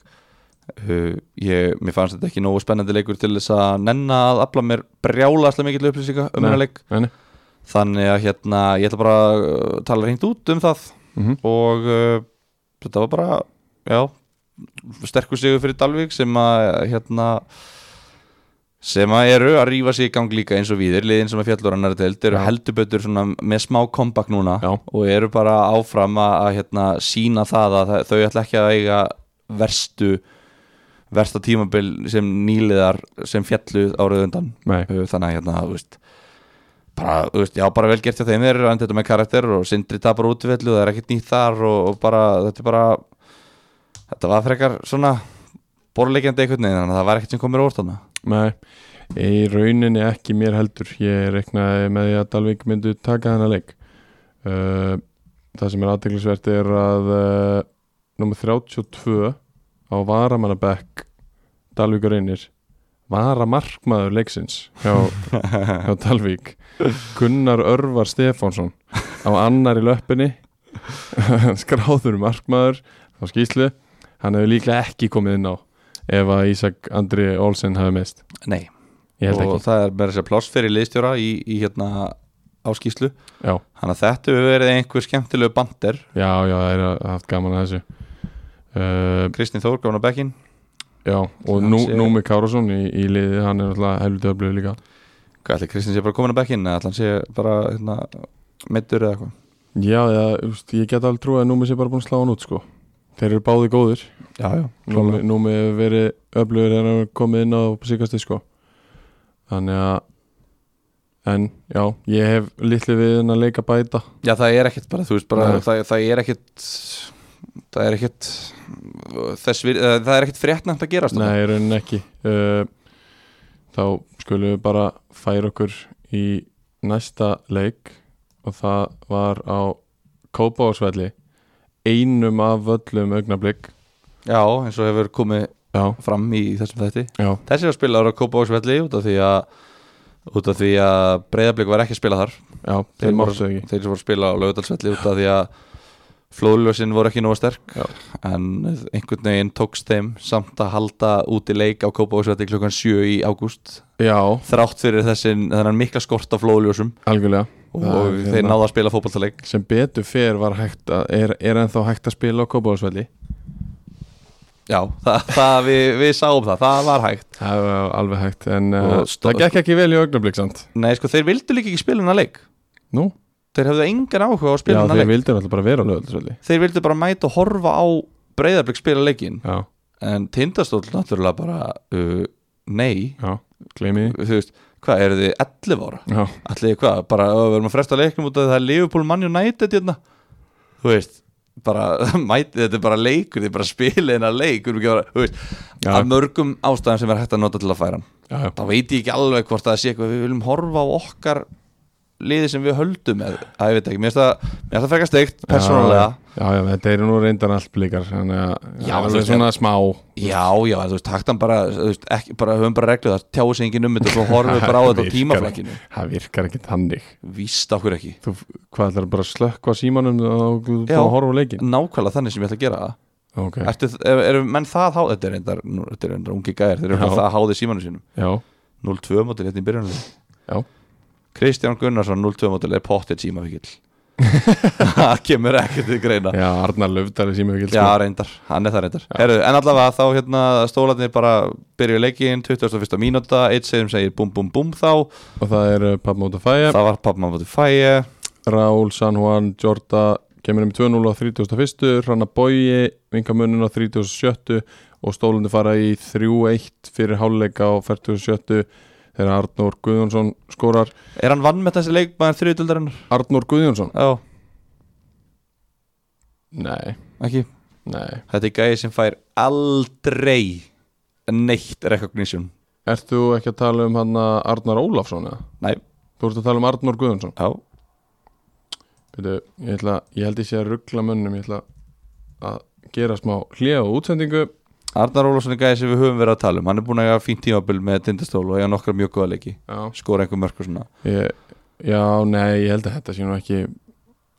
uh, ég, Mér fannst þetta ekki nógu spennandi leikur til þess að nenna að afla mér brjálaslega mikill upplýsinga um Nei, hennar leik nei, nei. Þannig að hérna, ég ætla bara að uh, tala hreint út um það mm og uh, þetta var bara já, sterkur sigur fyrir Dalvik sem að hérna sem að eru að rífa sig í gang líka eins og við er liðin sem að fjallur annar deild eru Já. heldur betur svona með smá kompakt núna Já. og eru bara áfram að, að hérna, sína það að þau ætla ekki að eiga verstu versta tímabil sem nýliðar sem fjallu árið undan nei Uh, þannig að hérna, þú veist bara, þú veist, já, bara vel gert hjá þeim er en þetta með karakter og sindri tapar útvelli og það er ekkert nýtt þar og, og bara, þetta er bara þetta var frekar svona borleikjandi einhvern veginn, þannig að það var ekkert sem komir úr þannig Nei, í rauninni ekki mér heldur Ég reiknaði með því að Dalvik myndu taka þennan leik uh, Það sem er aðteglisvert er að uh, Númer 32 á varamannabekk Dalvík og reynir Varamarkmaður leiksins hjá, hjá Dalvík Gunnar Örvar Stefánsson á annar í löppinni skráður markmaður á skýslu, hann hefur líklega ekki komið inn á ef að Ísak Andri Olsen hafi mist Nei, ég held og ekki það er með þess að pláss fyrir liðstjóra í, í hérna áskýslu já, þannig að þetta hefur verið einhver skemmtilegu bandir já, já, það er að- haft gaman að þessu uh, Kristinn Þór gafna bekkin já, og Hann nú, sé- Númi Károsson í, í liði, hann er alltaf helviti öflug líka hvað ætli, Kristinn sé bara komin á bekkin eða ætli hann sé bara hérna, meittur eða eitthvað já, já, úst, ég get alveg trúið að Númi sé bara búin að slá hann út sko þeir eru báði góðir já, já, nú, nú með verið öflugur þegar hann komið inn á síkasti sko þannig að en já, ég hef litlu við hann að leika bæta já, það er ekkert bara, þú veist bara Nei. það, það er ekkert það er ekkert þess, vir- eh, það er ekkert fréttnæmt að gerast þarna. nei, raunin ekki uh, þá skulum við bara færa okkur í næsta leik og það var á Kópáðsvelli einum af völlum augnablik já, eins og hefur komið já, fram í þessum þætti já, þessi var spilaður á Kópavogsvelli út af því að út af því að breyðablík var ekki að spila þar já, þeir máttu ekki þeir sem voru að spila á Laugardalsvelli út af því að flóðlösin voru ekki nóga sterk Já. en einhvern veginn tókst þeim samt að halda út í leik á Kópavogsvelli klukkan 7 í ágúst já, þrátt fyrir þessin, þennan mikla skort af flóðljósum algjörlega og Það er þeir hérna. náða að spila fótballtaleik sem betur fer var hægt að, er, er ennþá hægt að spila á Kópáðsvelli já, það, það, við, við sáum það, það var hægt Það var alveg hægt En Og uh, stó- það gekk ekki vel í augnablik samt nei, sko, þeir vildu líka ekki spila hennar leik Nú? þeir hefðu engan áhuga á að Já, spila hennar þeir leik vildur alltaf bara vera á lögðarsvelli þeir vildu bara mæta og horfa á breyðablík spila leikin Já, en tindastóll náttúrulega bara uh, nei já, gleymi því þú veist, hvað eru þið 11 ára Já, allir hvað, bara ö, við erum að fresta leiknum út af því það er Liverpool Man United hérna þú veist, bara mæti, þetta er bara leikur, þið bara spila hérna leik við erum ekki að vera, þú veist, Já. af mörgum ástæðum sem er hægt að nota til að færa hann já, já, þá veit ég ekki alveg hvort það sé eitthvað við viljum horfa á okkar liði sem við höldum með, að ég veit ekki, mér finnst það mér finnst það frekar steikt, persónulega já, já, þetta eru nú reyndar allt blíkar Þannig að Já, það er þú alveg veist, svona smá Já, já, en þú veist, taktan bara, þú veist, ekki, bara höfum bara reglu það, tjáu sig enginn um þetta og svo horfum við bara á þetta á Virkar- tímaflækinu Það virkar ekki tannig Víst okkur ekki Þú, hvað ætlar bara að slökka á símanum og þú fá Já. Mm. að horfa á leikin Nákvæmlega þannig sem ég ætla að gera það Ok, Ertu, er, er, menn það há, þetta er reyndar, nú, þetta er reyndar ungi gæðir, þeir eru Já. bara það háði símanu sínum já, 0-2 mótil hérna í byrjunum Já. Kristján Gunnarsson 0-2 mótil er pottið símavíkil Það kemur ekki til greina já, sko. Arnar Löfdari sími ekki Já, reyndar, hann er það reyndar Heru, En allavega þá hérna stólarnir bara byrju leikinn, 21. mínúta eitt segir segir búm búm búm þá Og það er Pappmóta Fæja Það var Papma Bóti Fæja Raúl San Juan Jorda kemur um 2-0 á 31. Ranna Bói vinka munin á 37. og stólundi fara í 3-1 fyrir háluleika á 47. þegar Arnór Guðjónsson skorar Er hann vann með þessi leikmaður þriðutildarinnar? Arnór Guðjónsson? Já, Nei, ekki nei Þetta er gæði sem fær aldrei neitt recognition Ert þú ekki að tala um hann að Arnar Ólafsson eða? Nei, Þú ert að tala um Arnór Guðjónsson já, Byrju, ég, ætla, ég held ég sé að ruggla mönnum ég ætla að gera smá hljá útsendingu Arnar Ólafsson er gæði sem við höfum verið að tala um Hann er búin að hafa fínt tímabil með tindastól og eiga nokkra mjög góða leiki Já, Skora einhver mörg og svona Ég, já, nei, ég held að þetta sé nú ekki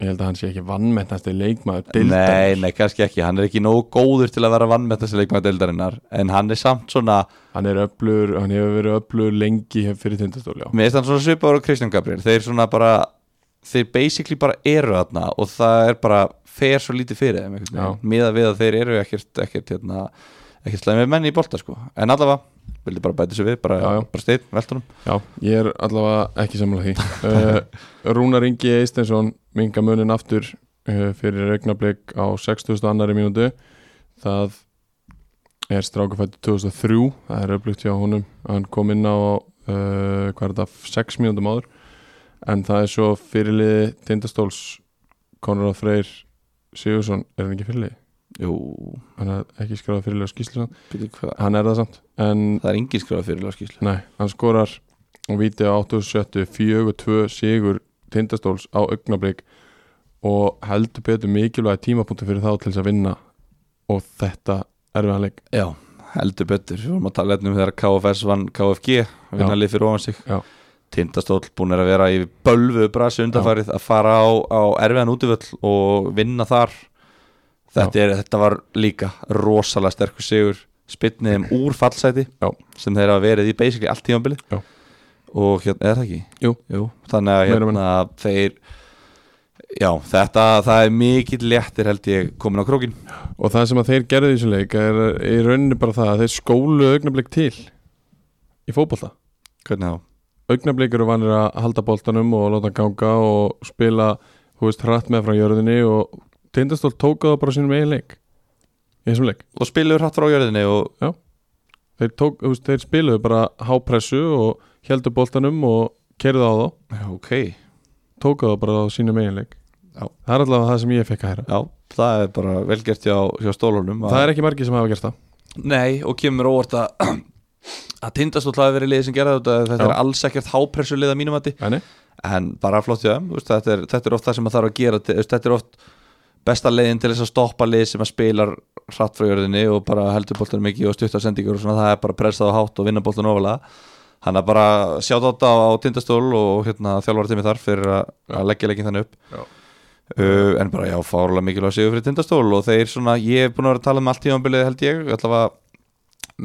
ég held að hann sé ekki vannmennasti leikmaður deildar, Nei, nei, kannski ekki, hann er ekki nógu góður til að vera vann með þessi leikmaður deildarinnar En hann er samt svona, hann er öflur hann hefur verið öflur lengi hef- fyrir tindastól, já mér finnst hann svona svipaður og Kristján Gabriel Þeir svona bara, þeir basically bara eru þarna og það er bara fer svo lítið fyrir þeim einhvern veginn. Já. miðað við að þeir eru ekkert, ekkert, hérna, ekkert slæmi menni í bolta sko. en allavega, vildi bara bæta sér við bara, Já, já. bara steinn, veltunum Já, ég er allavega ekki sammála því uh, Rúnar Ingi Eistensson minga munin aftur uh, fyrir augnablik á 60. annari mínútu það er strákafættu 2003 það er öflugt hjá honum hann kom inn á uh, hvað er þetta, 6 mínútum áður en það er svo fyrirliði tindastóls Konrad Freyr Sigursson er hann ekki fyrirliði? Jú, hann er ekki skráð fyrirliði á skýslu byrju hvað hann er það samt en Það er engin skráð fyrir lagskíslu Nei, hann skorar og víti á 87 4-2 sigur tindastóls á augnablik og heldur betur mikilvæg tímapunktu fyrir þá til þess að vinna og þetta erfiðanleik Já, heldur betur, við vorum að tala hérna um þegar KFS vann KFG Já. vinnalið fyrir ofan sig Já. Tindastóll búin að vera í bölvu brasi undanfarið að fara á, á erfiðan útivöll og vinna þar þetta, er, þetta var líka rosalega sterkur sigur spynnið um úr fallsæti Já. sem þeir hafa verið í basically allt tímabili Já. og hérna, er það ekki? Jú. þannig að Meira og hérna þeir já, þetta, það er mikill léttir held ég komin á krókin og það sem að þeir gerðu í þessu leik er í rauninni bara það að þeir skólu augnablik til í fótbolta hvernig þá? augnablik eru vanir að halda boltanum og láta hann ganga og spila þú veist, hratt með frá jörðinni og tindastól tóka það bara á sínum eigin leik í þessum leik og spilur hattur á jörðinni og þeir, tók, þú veist, þeir spiluðu bara hápressu og heldur boltanum og kerðu á þá ok, tóku það bara á sínum eiginleik Já. það er allavega það sem ég fekk að hæra já, það er bara velgert hjá, hjá stólunum það er ekki margir sem hafa gert það Nei, og kemur óvart að að tindastóll hafi verið liðið sem gerði þetta Já. þetta er alls ekkert hápressu liða mínum að Æ, nei. en bara flott hjá þeim þú veist, þetta, er- þetta er oft það sem maður þarf að gera Þetta- þú veist, þetta er oft besta leiðin til þess að stoppa lið sem að spilar hratt frá jörðinni og bara heldur boltan mikið og stuttar sendingur og svona það er bara pressað á hátt og vinna boltan ofalega hann er bara sjátt átta á tindastól og hérna, þjálfara tími þar fyrir að, að leggja leikin þannig upp Já. uh, en bara já, fárlega mikilvæg sigur fyrir tindastól og þeir svona, ég hef búin að vera að tala um allt tímambilið held ég, allavega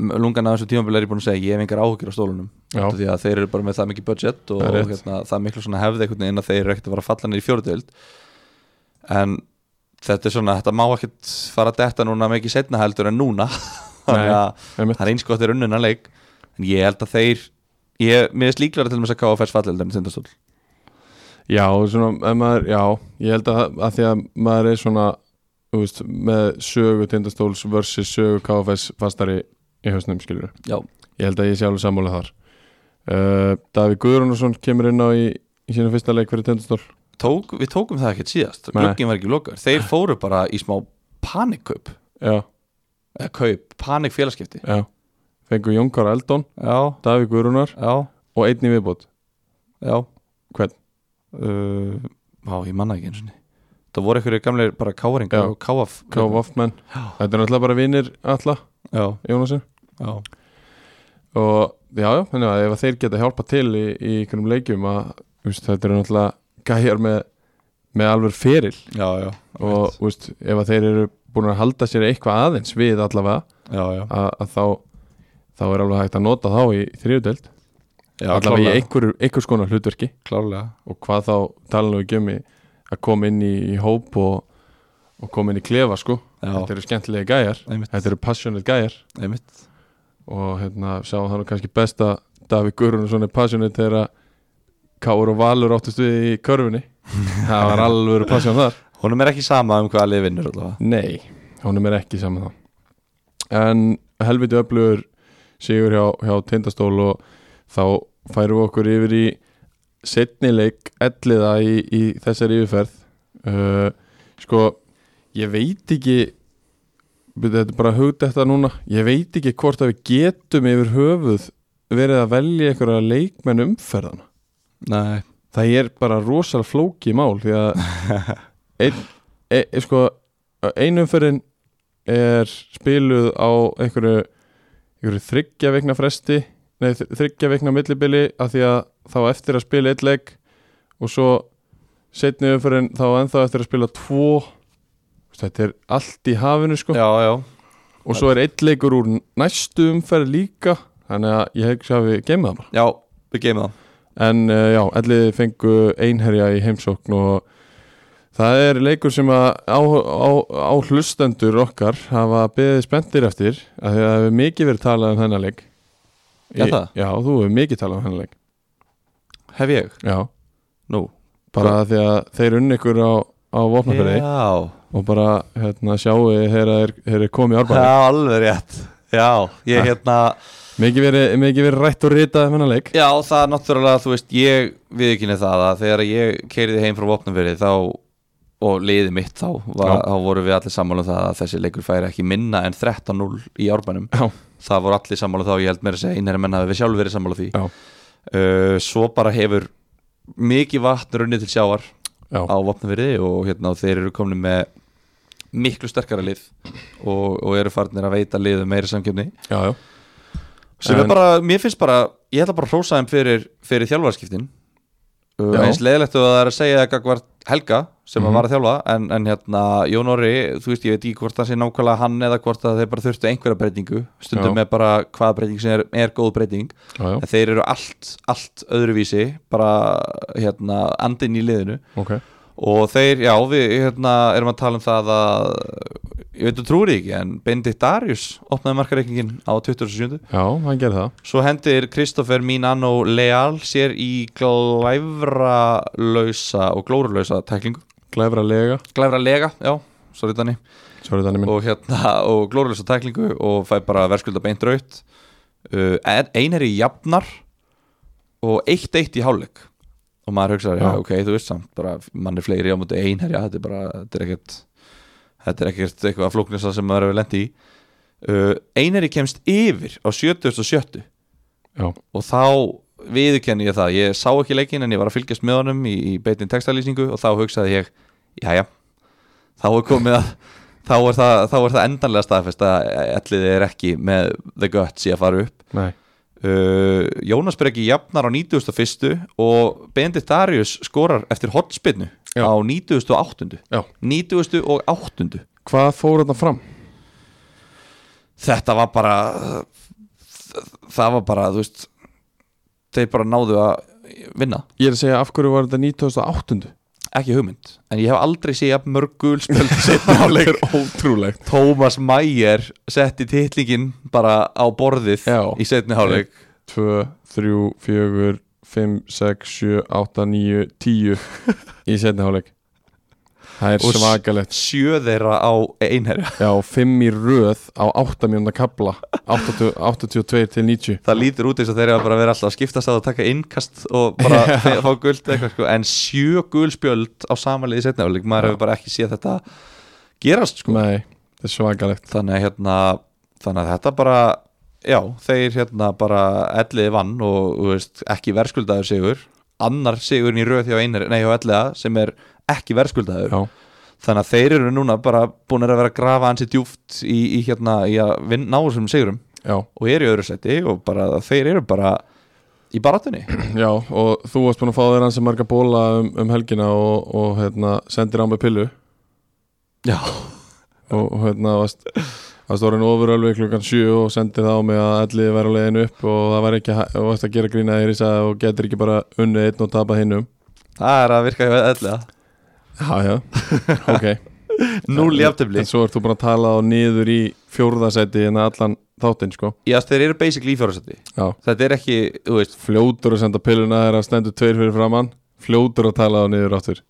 m- lungan af þessu tímambilið er ég búin að segja ég hef engar áhugir á stólunum Já. Út af því að þeir eru bara með það mikið budget og Það er rétt. hérna, það er miklu svona hefði einhvern veginn að þeir eru ekkert að fara að falla niður í fjóruðöld en þetta er svona þetta má ekkert fara að detta núna mikið setna heldur en núna þannig að einmitt. það er eins gott þeir unnuna leik en ég held að þeir ég, mér er slíklara til þess að KFS falla heldur en tindastól já, svona, ef maður, já ég held að, að því að maður er svona þú veist, með sögu tindastóls versus sögu KFS fastari í hausnum skilur Já. ég held að ég sé alveg sammála þar uh, Davíð Guðrúnarsson kemur inn á í, í sína fyrsta leik fyrir tindastól Tók, við tókum það ekkert síðast Nei. glugginn var ekki lokar, þeir fóru bara í smá panikkaup, já, eða kaup panikfélagskipti já fengu Jónkar Eldon, já, Davíð Guðrúnar já, og einn í viðbót já Hvern? Uh, á, ég manna ekki eins og niður það voru einhverju gamleir bara Já. káringar og káaf KFF-menn, Já. þetta er náttúrulega bara vinir alla, já, Jónasson já, og já, já, þannig að ef að þeir geta hjálpa til í, í einhverjum leikjum að úst, þetta eru náttúrulega gæjar með, með alveg feril já, já og úst, ef að þeir eru búin að halda sér eitthvað aðeins við allavega já, já, að, að þá, þá er alveg hægt að nota þá í þriðudeld já allavega í einhver, einhvers konar hlutverki klárlega og hvað þá talanum við gjömi að koma inn í, í hóp og, og koma inn í klefa sko já, þetta eru skemmtilega gæjar, einmitt, þetta eru passionate gæjar einmitt og hérna sjáum það nú kannski best að Davík Guðrún er passionate þegar að Káur og Valur áttist við í körfunni það var alveg passion þar honum er ekki sama um hvaða lið vinnur allavega nei, honum er ekki saman þá en helviti öflugur sigur hjá, hjá tindastól og þá færum við okkur yfir í setni leik elliða í, í þessari yfirferð uh, sko ég veit ekki þetta er bara hugt þetta núna ég veit ekki hvort að við getum yfir höfuð verið að velja einhverja leikmenn umferðan nei, það er bara rosal flóki mál því að ein, e, e, sko, einumferðin er spiluð á einhverju, einhverju þryggja vikna fresti nei, þ- þriggja vikna millibili af því að þá á eftir að spila eitt leik og svo setni umferðin þá á ennþá eftir að spila tvo þetta er allt í hafinu sko já, já og svo er eitt leikur úr næstu umferð líka þannig að ég hef ekki að við geymið það bara já, við geymum það En uh, já, elliði fengu einherja í heimsókn og það er leikur sem að á, á, á hlustendur okkar hafa beðið spenntir eftir af því að það hefur mikið verið talað um þennan leik Já, Í- það? Já, þú hefur mikið talað um þennan leik hef ég, Já, nú bara af því að þeir unni ykkur á, á vopnafyrði já, og bara hérna, sjáu þegar þeir, þeir eru komið í já, árbæði alveg rétt já, ég Ha. hérna mikið verið, mikið verið rætt og ritað um þennan leik Já, það er náttúrulega, þú veist, ég viðkynni það að þegar ég keiriði heim frá vopnumverið þá, og liðið mitt þá, var, Já. þá voru við allir sammála um það að þessi leikur færi ekki minna en 13-0 í árbænum Já. það voru allir sammála um það og ég held meira að segja einherja menn hafi við sjálf verið sammála því Já. uh, Svo bara hefur mikið vatn runnið til sjávar Já. á vopnumverið og hérna, og þeir eru komin með miklu sterkara lið og, og eru farnir að veita liðum meiri samkjöfni Já, já, sem En- er bara, mér finnst bara ég ætla bara að hrósa þeim fyrir, fyrir þjálfarskiptin Já. uh, eins leðilegt og það er að segja það gagvart Helga sem Mhm. að var að þjálfa en, en hérna, Jón Orri, þú veist ég veit ekki hvort það sé nákvæmlega hann eða hvort að þeir bara þurftu einhverja breytingu, stundum Já. með bara hvaða breyting sem er, er góð breyting já, já, en þeir eru allt, allt öðruvísi bara hérna andinn í liðinu ok og þeir, já, við hérna, erum að tala um það að ég veit þú trúir því ekki, en Benedikt Darius opnaði markareikningin á 27. Já, hann gerði það Svo hendir Kristoffer Minano Leal sér í glæfralausa og glórulausa tæklingu Glæfra lega Glæfralega, já sorry Dani Sorry Danni minn og hérna, og glóruðlösa tæklingu og fæ bara verskulda beint raut uh, en- einar í jafnar og eitt eitt í hálfleik og maður hugsaði, já. Já. ok, þú veist samt bara, mann er fleiri á múti einherja þetta er bara, þetta er ekkert þetta er ekkert eitthvað flóknisa sem maður hefur lendi í uh, einherji kemst yfir á 77 Já, og þá viðurkenni ég það ég sá ekki leikinn en ég var að fylgjast með honum í, í beitin textalýsingu og þá hugsaði ég jæja, þá er komið að þá er það, þá er það endanlega staðfest að ellið er ekki með the guts í að fara upp nei uh, Jónas Breki jafnar á 91. og Bendit Darius skorar eftir hotspinnu Já. á 98. Já. 90. og 8. Hvað fór þarna fram? þetta var bara það- það var bara, þú veist þeir bara náðu að vinna Ég er að segja af hverju var þetta 1908 ekki hugmynd en ég hef aldrei séð jafn mörg gulspjöld setna á Það leik er ótrúlegt Tómas Mæger setti titlingin bara á borðið Já. í setni hálfleik 2, 3, 4, 5, 6, 7, 8, 9, 10 Í setni háleik Það er Og s- svakalegt sjö þeirra á einherja Já, 5 í röð á 8 mjönda kabla 80, 82 til 90 það lítur út eins og þeirra bara verið alltaf að skiptast á að taka innkast og bara fe- fá guld eitthvað sko. en sjö gulspjöld á samanlega í setni hálfleik maður Já. hefur bara ekki séð þetta gerast sko. Nei, það er svakalegt þannig að hérna þannig að þetta bara já, þeir hérna bara elliði vann og þú veist, ekki verðskuldaður sigur annar sigurinn í röð hjá einir nei, hjá elliða sem er ekki verðskuldaður Já, þannig að þeir eru núna bara búin að vera að grafa hansi djúft í, í hérna í að vinna ná þessum sigurum já og eru í öðru seti og bara þeir eru bara í barátunni Já, og þú varst búin að fá þér hans marga bóla um, um helgina og, og hérna, sendir á með pillu já, og og, hérna varst, varst orðin ofur alveg klukkan 7 og sendir þá með að allir vera á leiðinu upp og það var ekki, hæ- og varst að gera grína þér í það og getur ekki bara unnið einn og tapað hinnum það er að virka hjá elliða Já, já, ok núl jafntefli En svo ert þú búin að tala á niður í fjórðasæti en allan þáttinn, sko já, þeir eru basically í fjóra seti Já, þetta er ekki, þú veist, fljótur að senda pilluna þegar að stendur tveir fyrir framann fljótur að tala á niður áttur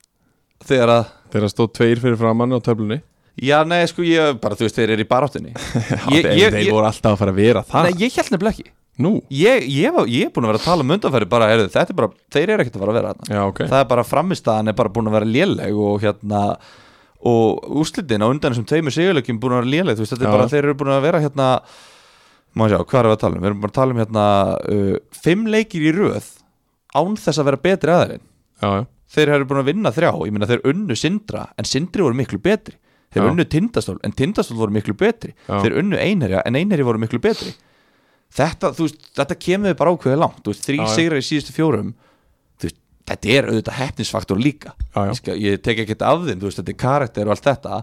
þegar að þegar að stóð tveir fyrir framann á töflunni Já, nei, sko, ég bara, þú veist, þeir eru í baráttunni ég, Þeir- ég, Þeir ég, voru alltaf að fara að vera það nei, ég held nefnilega ekki Nú? Ég, ég, var, ég er búin að vera að tala um undanfæri bara, heyrðu, þetta er bara, þeir eru ekkert að fara að vera þarna Já, ok Það er bara framistaðan er bara búin að vera léleg og hérna og úrslitin á undan þessum tveimur sigurleikum búin að vera léleg, þú veist, þetta Já. er bara, þeir eru búin að vera hérna Má sjá, hvað erum við að tala um? Við erum bara að tala um hérna uh, fimm leikir í röð án þess að vera betri aðeirinn Já, já, þeir eru búin að vinna þrjá ég meina þeir unnu Sindra en Sindri voru miklu betri þeir Já. unnu Tindastól en Tindastól voru miklu betri Já. þeir unnu Einherja en Einherja voru miklu betri þetta, þú veist, þetta kemur bara ákveðið langt þú Já, veist, þrý já. sigrar í síðustu fjórum þú veist, þetta er auðvitað hefnisfaktor líka Já, já. Ég, skal, ég tek ekkert af þeim, þú veist, þetta er karakter og allt þetta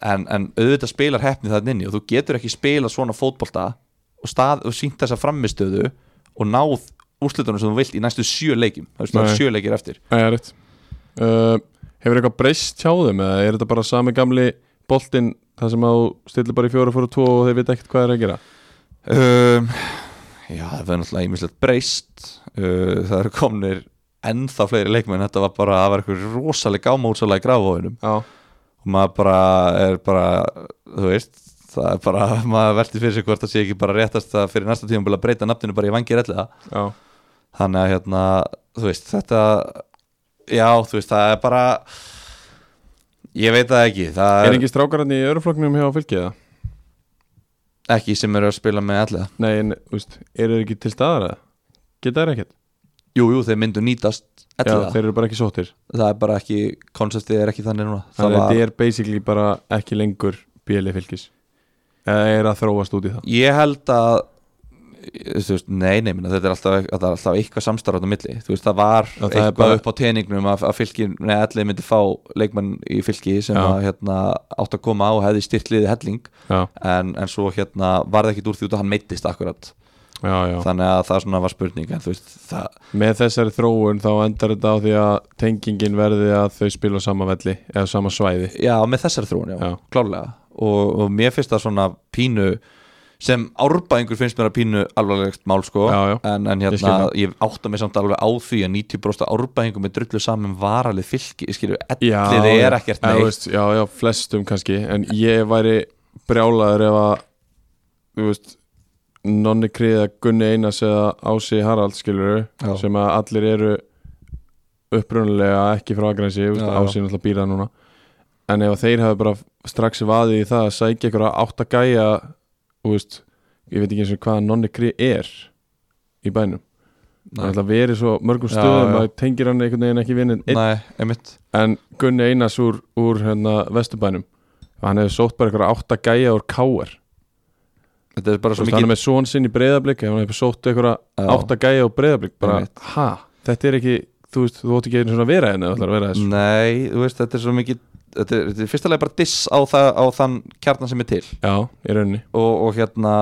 en, en auðvitað spilar hefni það inni og þú getur ekki spila svona fótbolta og, stað, og sínt þessa framistöðu og náð úrslitunum sem þú vilt í næstu sjö leikjum þú veist, það Nei. er sjö leikir eftir það er rétt uh, Hefur eitthvað breyst hjá þeim eða er þetta bara sami gamli boltinn þar sem að þú stillir bara í fjóra fóra tvo og þeir veit ekkert hvað er að gera um, Já, það er náttúrulega ímislegt breyst uh, Það eru komnir ennþá fleiri leikmenn Þetta var bara, það var eitthvað rosalega gámótsalega í grafóðinum Já, og maður bara er bara, þú veist það er bara, maður veltir fyrir sig hvort það sé ekki bara réttast að fyrir næsta tíma að breyta nafninu bara í vangi relliða já, þannig að hérna, þú veist, þetta já, þú veist, það er bara ég veit það ekki það er er ekki strákararni í öruflokknum hjá fylgið það? ekki sem eru að spila með allega Nei, en, þú veist, eru þeir ekki til staðar eða? Geta þeir ekkert? jú, jú, þeir myndu nýtast Já, allega þeir eru bara ekki sóttir það er bara ekki, konceptið er ekki þannig núna það Þannig að var, þetta er basically bara ekki lengur bíli fylgis eða er að þróast út í það ég held að þú veist, nei, nei, minna, þetta er alltaf, þetta er alltaf eitthvað samstarf á milli, þú veist, það var það er eitthvað bara- upp á teiningnum að, að fylkin, nei, allir myndi fá leikmann í fylki sem Já. að, hérna, átt að koma á og hefði styrt liðið helling Já, en, en svo hérna var það ekki úr því út að hann meittist akkurat, já, já þannig að það svona var spurning en þú veist, það, Með þessari þróun þá endar þetta á því að tengingin verði að þau spila á sama velli eða sama svæði já, með þessari þróun, já, Já. klárlega og, og mér finnst það svona pínu sem árbæðingur finnst mér að pínu alvarlegst mál sko Já, já. En, en Ég skil hérna, það. ég, átta mig samt alveg á því að 90% árbæðingum er drullu saman varalið fylki, ég skilju, ellið er ekkert já, neitt veist, já, já, flestum kannski En ég væri brjálaður ef að Þú veist Nonni Kriða, Gunni Einars eða Ási Harald skilur Já. sem að allir eru upprunalega ekki frá Akranesi, Já, já. Ási er náttúrulega býrað núna en ef að þeir hafi bara strax vaðið í það að sækja ykkur að átt að gæja þú veist, ég veit ekki eins og hvað Nonni Krið er í bænum Nei. það er alltaf verið svo mörgum Já, stöðum já. að tengir hann einhvern veginn ekki vinnin Nei, einmitt en Gunni Einars úr, úr hérna, Vesturbænum hann hefði sótt bara eitthvað átt að gæja úr K.R. Þetta er bara Þú svo veist, hann er mikið með són sinn í breyðablík hann hefði sótt eitthvað Já. átt að gæja úr breyðablík bara, Einmitt. ha, þetta er ekki þú veist, þú ótt ekki einu svona að vera henni að Mm. vera þessu Nei, þú veist, þetta er svo mikið Þetta er, þetta er fyrsta leið bara diss á, það, á þann kjarnan sem er til já, í rauninni og, og hérna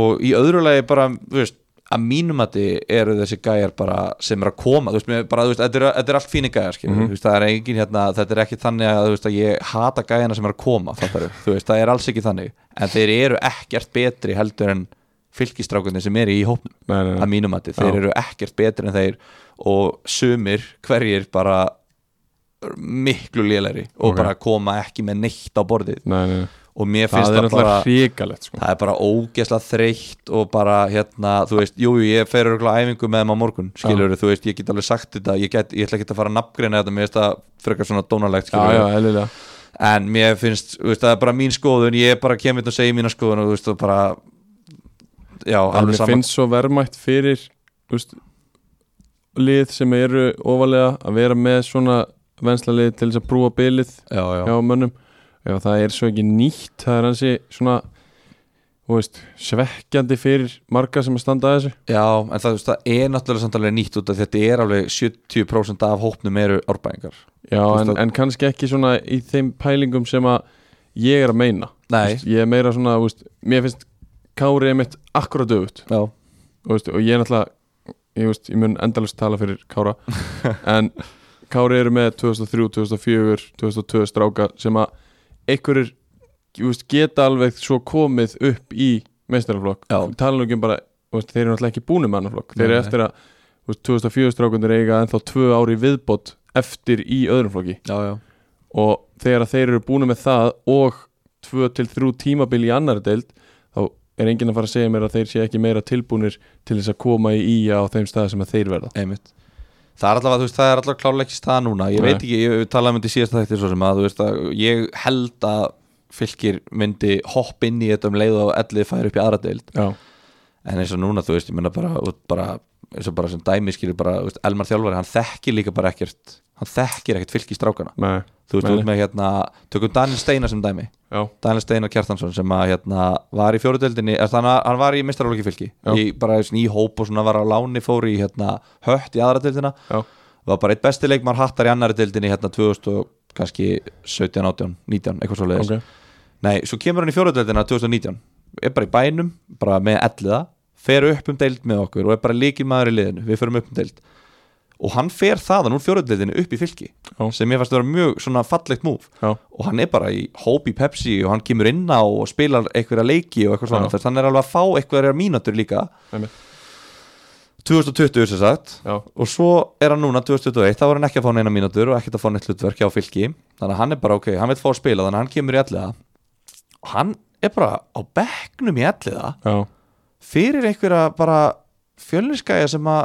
og í öðru lagi bara, þú veist að mínum að þið eru þessi gæjar bara sem er að koma, þú veist, mér bara, þú veist, þetta er, þetta er allt fíni gæjar, skilur, Mhm. þú veist, það er engin hérna, þetta er ekki þannig að, þú veist, að ég hata gæjana sem er að koma, fattar þú veist, það er alls ekki þannig, en þeir eru ekkert betri heldur en fylgistrákunni sem eru í hópnum, nei, nei, að nei. mínum að þið, þeir Já. eru ekkert betri en þeir og sumir, hverjir bara miklu lélæri og Ok. bara koma ekki með neitt á borðið Nei, nei, nei. og það mér finnst er það, náttúrulega bara hrikalegt sko. það er bara ógeðslega þreytt og bara hérna, þú veist, jú, jú, ég fer örgulega æfingu með þeim á morgun, skilur þú veist, ég get alveg sagt þetta, ég, get, ég ætla ekki að fara að nafngreina þetta, mér finnst það frekar svona dónalegt, já, já, skilur eðlilega en mér finnst, þú veist, það er bara mín skoðun ég bara kemur þetta og segi mína skoðun og þú veist, og bara já, en alveg mér saman, finnst svo verðmætt fyrir þú veist, lið sem eru ofalega að vera með svona vensla lið til þess að brúa bylið já, já, hjá mönnum ef það er svo ekki nýtt það er hansi svona þú veist, svekkjandi fyrir marga sem að standa að þessu já en það, þú veist, það er náttúrulega samt alveg nýtt út af því að þetta er alveg 70% af hópnum eru árbæðingar Já, veist en, að- en kannski ekki svona í þeim pælingum sem að ég er að meina Nei. Þú veist, ég er meira svona, þú veist, mér finnst Kári einmitt akkurat auðvut já, og, veist, og ég er náttúrulega ég, veist, ég mun endalist tala fyrir Kára en Kári eru með 2003, 2004, 2002 stráka sem að einhverjir þú veist, geta alveg svo komið upp í meistaraflokk Já. tala nú ekki um bara, þú veist, þeir eru náttúrulega ekki búnum mannaflokk, Nei, þeir eru nei. eftir að þú veist, 2004 strákundir eiga ennþá tvö ári viðbót eftir í öðrum flokki já, já, og þegar að þeir eru búinu með það og tvö til þrjú tímabil í annar deild þá er enginn að fara að segja mér að þeir sé ekki meira tilbúnir til þess að koma í íja á þeim stað sem að þeir verða einmitt Það er allavega, þú veist, það er allavega klálega ekki staða núna Ég Nei. veit ekki, ég talaði um þetta í síðasta þætti svo sem að, þú veist, að ég held að fylgir myndi hopp inn í þetta um leið og ellið færi upp í aðra deild Já, en eins og núna, þú veist, ég menna bara, út bara eins og bara sem dæmi skilur bara, þú veist, Elmar Þjálfari hann þekkir líka bara ekkert hann þekkir ekkert fylgi strákana nei, þú veist, Nei. út með hérna, tökum Daniel Steinar sem dæmi já, Daniel Steinar Kjartansson sem að hérna var í fjóruðöldinni, þannig að hann var í mistarálóki fylki, Já. í, bara svona, í hóp og svona var á láni, fór í hérna hött í aðra dildina, Já. var bara eitt besti leikmar hattar í annari dildinni hérna 2000 og kannski 17, 18, 19 eitthvað svo leiðis, ok nei, svo kemur hann í fjóruðöldina 2019, er bara í bænum bara með elliða, fer upp um deild með okkur og er bara líkil maður í liðinu við förum upp um deild og hann fer þaðan úr fjóruðöldinni upp í fylki Já. sem ég fannst að vera mjög svona fallegt múf Já, og hann er bara í hóp í Pepsi og hann kemur inn á og spilar einhverja leiki og eitthvað svona, Já. þess að hann er alveg að fá einhverja mínútur líka Einmitt. 2020 sem sagt já, og svo er hann núna 2021, þá var hann ekki að fá neina mínútur og ekkert að fá neitt hlutverk hjá fylki þannig að hann er bara ok, hann vil fá að spila þannig að hann kemur í alliða og hann er bara á bekknum í alliða já, fyrir einhverja bara fjölniskæja sem að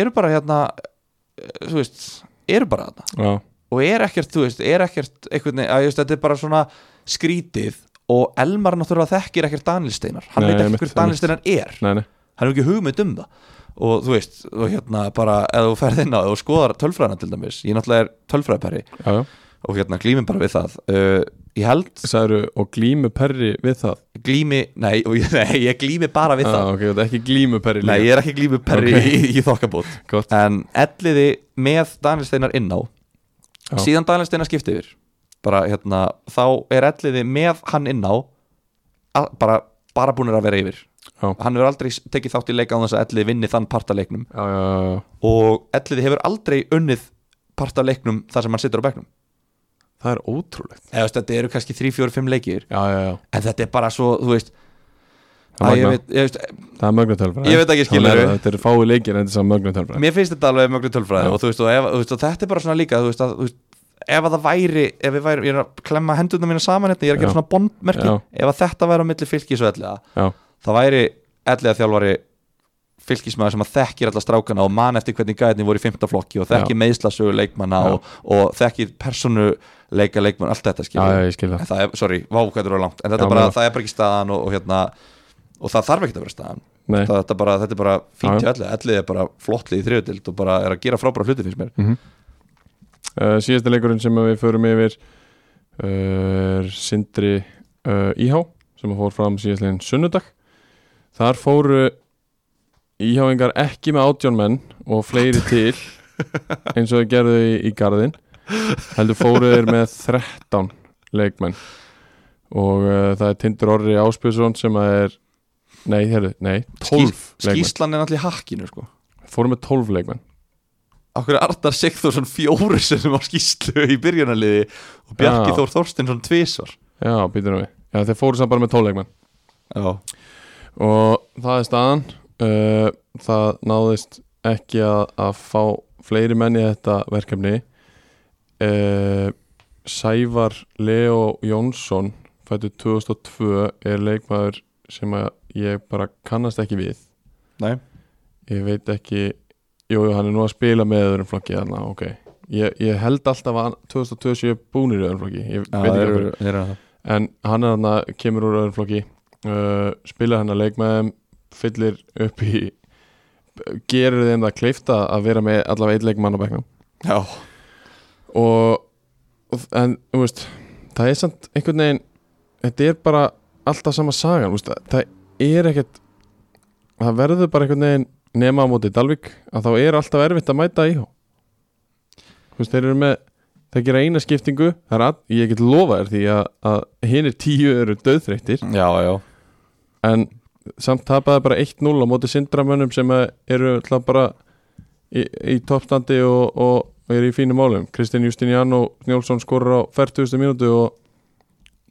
eru bara hérna eh, þú veist, eru bara þarna já og er ekkert, þú veist, er ekkert einhvern veginn, að just, þetta er bara svona skrítið og Elmar náttúrulega þekkir ekkert Daniel Steinar, hann Nei, veit ekki einmitt, hver Daniel Steinar er Nei, nei, hann er ekki hugmynd um það og þú veist, og hérna bara eða þú ferð inn á það og skoðar tölfræðina til dæmis ég náttúrulega er tölfræðperri já, já og hérna glímum bara við það uh, ég held Særu, og glímu perri við það glími, nei, og, ég- nei ég glími bara við ah, það Ok, þetta er ekki glímu perri nei, ég er ekki glími perri Ok. í, í þokkabót Gott, en elliði með Daniel Steinar inná Já. síðan Daniel Steinar skipti yfir bara hérna, þá er elliði með hann inná að- bara, bara búinir að vera yfir Já. hann hefur aldrei s- tekið þátt í leika á þess að elliði vinni þann partaleiknum já, já, já, já og elliði hefur aldrei unnið partaleiknum þar sem hann situr á bekknum Það er ótrúlegt eða þú veist, þetta eru kannski 3, 4, 5 leikir Já, já, já, en þetta er bara svo, þú veist Það Æ, er ég, magna, veit, ég, veist, það er magna tölfræði Ég veit ekki, skilurðu. Þá lærðu Þetta er fái leikir en þetta er samt magna tölfræði mér finnst þetta alveg möglu tölfræði Já. og, þú veist, og, ef, þú veist, og þetta er bara svona líka þú veist, að, þú veist, ef að það væri, ef við væri ég er að klemma hendurna mína saman hérna, ég er að gera Já. svona bondmerki, Já. ef að þetta væri á milli fylkis og elliða, Já. það væri elliða þjálfari fylkismæður sem að þekkir alla strákana og man eftir hvernig gæðinni voru í fimmta flokki og þekki Já. meðslasögu leikmanna Já. og, og þekki persónuleika leikmann, allt þetta Já, skilur já, ég skil það en það er, sorry, vákvæður og langt en þetta Já, bara, meina. það er bara ekki staðan og, og hérna og það þarf ekki að vera staðan Nei, það, þetta, bara, þetta er bara Já, fínt já. til allir allir er bara flottlið í þriðutild og bara er að gera frábæra hluti finnst mér uh, síðasta leikurinn sem við förum yfir uh, er Sindri uh, Íhá sem fór fram síðastlegin sunnudag þar fóru Íháingar ekki með átjón menn og fleiri til eins og þau gerðu í, í garðin heldur fóru þeir með 13 leikmenn og uh, það er Tindur Orri Áspjörsson sem að er nei, herri, nei, 12 leikmenn skýslan er allir hakkinu sko fóru með 12 leikmenn Akkur er Arnar Sigþórsson fjóru sem á skýslu í byrjunarliði og Bjarki Já. Þór Þorstinsson tvísvar já, býtum við, já, þeir fóru samt bara með 12 leikmenn Já, og það er staðan uh, það náðist ekki að, að fá fleiri menn í þetta verkefni uh, Sævar Leo Jónsson fættu 2002 er leikmaður sem að ég bara kannast ekki við nei, ég veit ekki jú, jú, hann er nú að spila með öðrum flokki þarna, ok ég, ég held alltaf að hann- 2002 séu búnir í öðrum flokki ég Já, veit ekki af það hverju eru- þeir eru það. en hann er hann að kemur úr öðrum flokki uh, spilar hann að leik með þeim fyllir upp í gerir þeim það kleifta að vera með allavega eitt leikmann á bekknum Já, og og- en, þú veist, það er samt einhvern veginn, þetta er bara alltaf sama sagan, þú veist, það- það er ekkert, það verður bara einhvern veginn nema á móti Dalvik að þá er alltaf erfitt að mæta í þú veist, þeir eru með það gera eina skiptingu, það er að ég get lofa þér því að, að hinir tíu eru döðþreyttir, já, já en samt tapaði bara 1-0 á móti sindramönnum sem að eru alltaf bara í, í toppstandi og, og, og eru í fínum málum Kristinn Justin og Njálsson skorur á 40. mínútu og,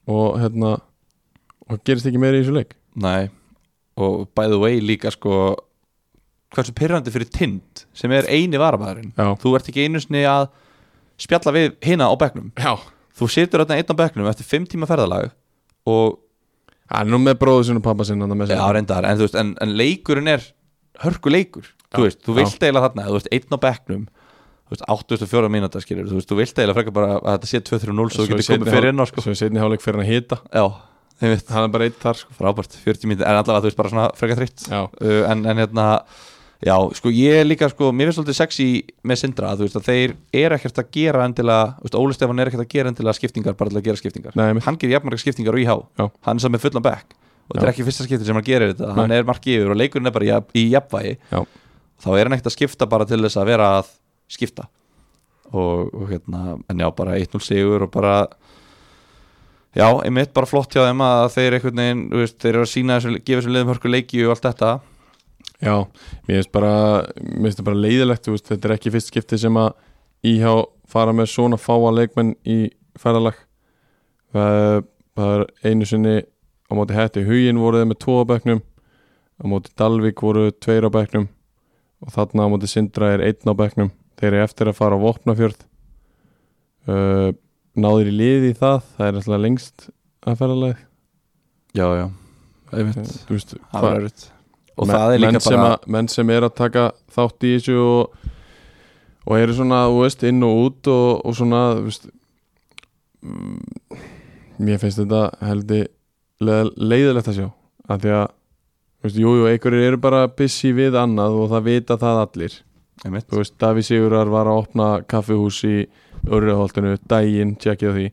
og hérna og gerist ekki meira í þessu leik Nei, og by the way líka sko hversu pyrrandi fyrir tind sem er eini varamæðurinn Já, þú ert ekki einu sinni að spjalla við hina á bekknum já þú situr þarna einn á bekknum eftir fimm tíma ferðalag og Hann er nú með bróðu sinn og pappa sinn hann er með sér. já, reyndar, en, þú veist, en, en leikurinn er hörku leikur Já, þú veist, þú já. vilt eiginlega þarna þú veist, einn á bekknum þú veist, 84 mínúta skilur þú veist, þú vilt eiginlega frekar bara að þetta sé 2-3-0 svo þú í getur seinni komið fyrir hál- inn á sko. Svo í setni hálfleik fyrir hann að hita já, ég veit, Hann er bara eitt þar sko frábært, 40 mínúta en allavega þú veist bara svona frekar þritt Já, uh, en, en hérna já, sko ég er líka sko, mér finnst svolítið sexy með Sindra, þú veist að þeir eru ekkert að gera endilega, þú veist, Óli Stefán er ekkert að gera endilega skiptingar, bara til að gera skiptingar nei, mitt hann gerir jafnmarga skiptingar og íhá, Já. hann er saman með fullan bekk og þetta Já. er ekki fyrsta skiptin sem hann gerir þetta hann Nei. er marki yfir og leikurinn er bara í, jaf- í jafnvægi Já. þá er hann ekkert að skipta bara til þess að vera að skipta og, og hérna, en já, bara 1-0 sigur og bara já, einmitt bara flott hjá þeim að þeir einhvern veginn, þú veist, þeir eru að sína þessu, gefa þessum liðum hörku leiki og allt þetta Já, mér finnst bara Mér finnst það bara leiðilegt, þú veist, þetta er ekki fyrst skipti sem að íhjá fara með svona fáa leikmenn í ferðalag það er, það er einu sinni á móti hætti huginn voruð með tvo á bekknum á móti Dalvik voru tveir á bekknum og þarna á móti Sindra er einn á bekknum þeir eru eftir að fara á Vopnafjörð uh, náður í liði í það það er alltaf lengst að ferðalag já, já, einmitt þú veist, það hvað- var erut og Men- það er menn líka sem, bara að, menn sem er að taka þátt í þessu og, og eru svona þú veist, inn og út og, og svona þú veist, mm, mér finnst þetta heldig leð, leiðilegt að sjá að því að þú veist, jú, jú, einhverjir eru bara busy við annað og það vita það allir einmitt, þú veist, Daví Sigurar var að opna kaffihús í Örriholtinu, daginn, tjekkið á því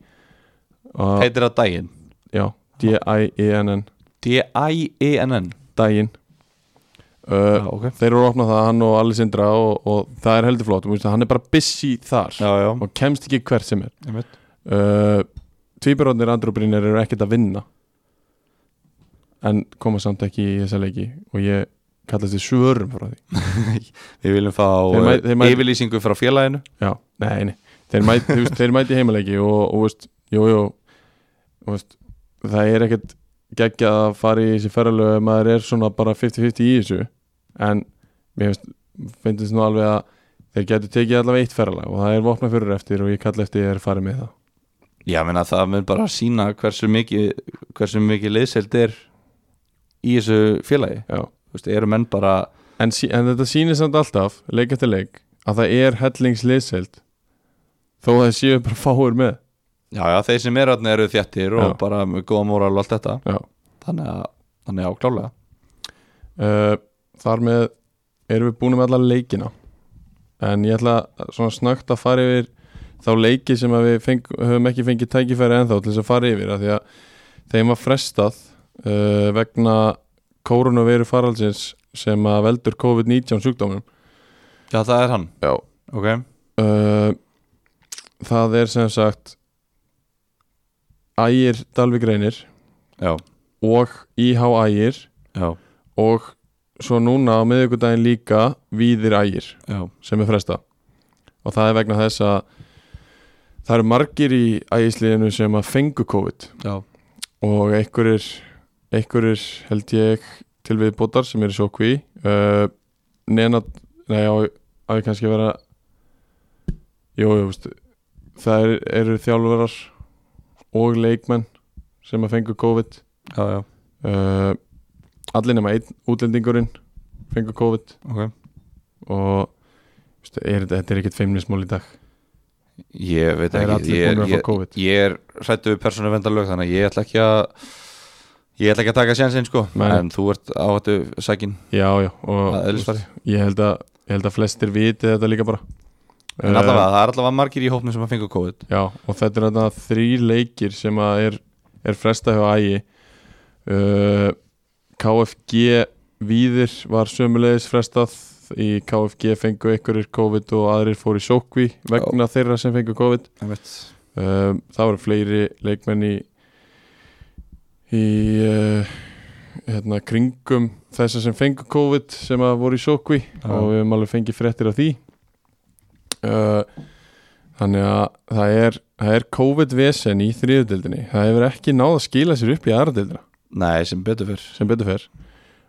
og, heitir það daginn já, D-I-E-N-N D-I-E-N-N daginn uh, E Já, ok. þeir eru að opna það, hann og Alli Sindra og, og það er heldur flott, þú veist, hann er bara busy þar já, já, og kemst ekki hvert sem er einmitt uh, Tvíburónir andróbrinir eru ekkert að vinna en koma samt ekki í þessa leiki og ég kallast þið svörum frá því Við viljum fá Þeir mæ- þeir mæ- yfirlýsingu frá félaginu Já, nei, nei. Þeir, mæti, þú veist, þeir mæti heimaleiki og, og veist, jú, jú, þú veist, það er ekkert geggja að fara í þessi ferðalög ef maður er svona bara 50-50 í þessu en mér finnst, finnst nú alveg að þeir getur tekið allavega eitt ferðalag og það er vopna fyrir eftir og ég kalla eftir ég er farið með það Já, menna það mun bara sína hversu mikið hversu mikið liðseld er í þessu félagi Já. Þú veist, eru menn bara en, sí, en þetta sýnir samt alltaf, leik eftir leik að það er hellingsliðseld þó að það séu bara fáir með Já, já, þeir sem eru þarna eru þjættir og Já. bara með góða móral og allt þetta Já. Þannig að, þannig að áklálega uh, Þar með erum við búin með alla leikina en ég ætla að- svona snögt að fara yfir þá leiki sem að við feng, höfum ekki fengið tækifæri ennþá til þess að fara yfir af því að þeim var frestað uh, vegna koronaviru faraldsins sem að veldur COVID-19 sjúkdómum Já, það er hann Já. Ok uh, Það er sem sagt Ægir Dalvik Reynir Já, og IH Ægir já, og svo núna á miðvikudaginn líka Víðir Ægir já sem er fresta og það er vegna þess að það eru margir í ægisliðinu sem að fengu COVID Já, og einhverjir, einhverjir held ég til viðbótar sem eru sjókví uh, neina nei, á, á ég kannski að vera jú, jú, veist það eru, eru þjálfarar og leikmenn sem að fengu COVID já, já, uh, allir nema einn útlendingurinn fengu COVID ok og veistu, er, þetta- þetta er ekkert feimnismól í dag Ég veit það er ekki, allir ég, búin að fá ég, COVID ég er hrættu við persónu vendalög þannig að ég ætla ekki að ég ætla ekki að taka sjansinn sko Nei. en þú ert á þetta sækin já, já, og Það er eðlisfari. veistu, ég, held að, ég held að flestir viti þetta líka bara Eh, en allavega, það er allavega margir í hópnum sem að fengu COVID já, og þetta er þarna þrý leikir sem að er, er fresta hjá ægi uh, KFG Víðir var sömulegis frestað í KFG fengu einhverjir COVID og aðrir fóru í sókví vegna þeirra sem fengu COVID um, það voru fleiri leikmenn í í uh, hérna, kringum þessar sem fengu COVID sem að voru í sókvi Já. og við höfum alveg fengið fréttir af því uh, þannig að það er, það er COVID-vesen í þriðudeldinni það hefur ekki náð að skila sér upp í aðradeldina Nei, sem betur fyrr sem betur fer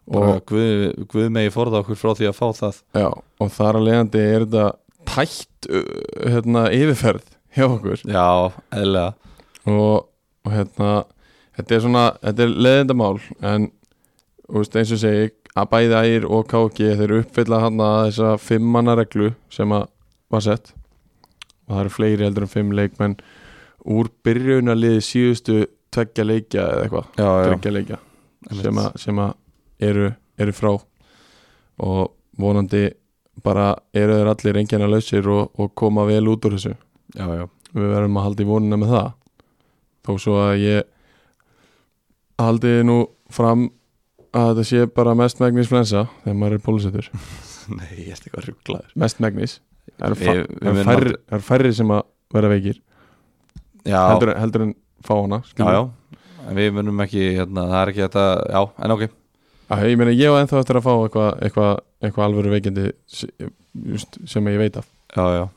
bara guð, guð megi forða okkur frá því að fá það Já, og þar að leiðandi er þetta tætt uh, hérna, yfirferð hjá okkur Já, eðlilega og, og hérna þetta er svona, þetta er leðindamál en þú veist, eins og ég segi að bæði ægir og KG þeir uppfylla hann að þessa fimmanna reglu sem að var sett og það eru fleiri heldur en fimm leikmenn úr byrjunarliði síðustu tveggja leikja eða eitthvað, Já, já, tveggja leikja einmitt. sem að, sem að eru, eru frá og vonandi bara eru þeir allir engjarnar lausir og, og koma vel út úr þessu já, já. við verðum að halda í vonuna með það þó svo að ég haldi nú fram að þetta sé bara mest megnis flensa þegar maður er pólusettur Nei, ég ætti eitthvað rugglaður mest megnis það eru fa- Við- við það eru munum færri, það eru færri sem að vera veikir Já, heldur, en- heldur en fá hana já, skilur. já En við munum ekki, hérna, það er ekki þetta Já, en ok, Æ, ég meina ég á ennþá eftir að fá eitthvað eitthvað eitthva alvöru veikindi s- just, sem ég veit af já, já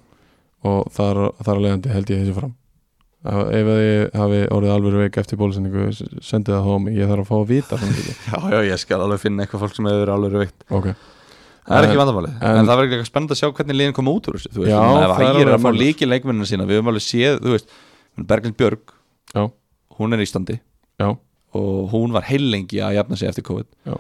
og þar, þar að leiðandi held ég þessu fram Ef- ef að ég hafi orðið alvöru veik eftir bólusendingu s- sendið það á mig, ég þarf að fá að vita svona hluti. Já, já, ég skal alveg finna eitthvað fólk sem hefur alveg veikt ok Það er ekki En- vandamálið, en, Eh, en- það verður eitthvað spennandi að sjá hvernig liðin koma út úr þessu Þú veist, Já, svona, ef það er ægir er alveg að fá málið. líki leikmennina sína Við höfum alveg séð, þú veist, Berglind Björg Já. Hún er í standi Já. Og hún var heilengi að jafna sig eftir COVID Já.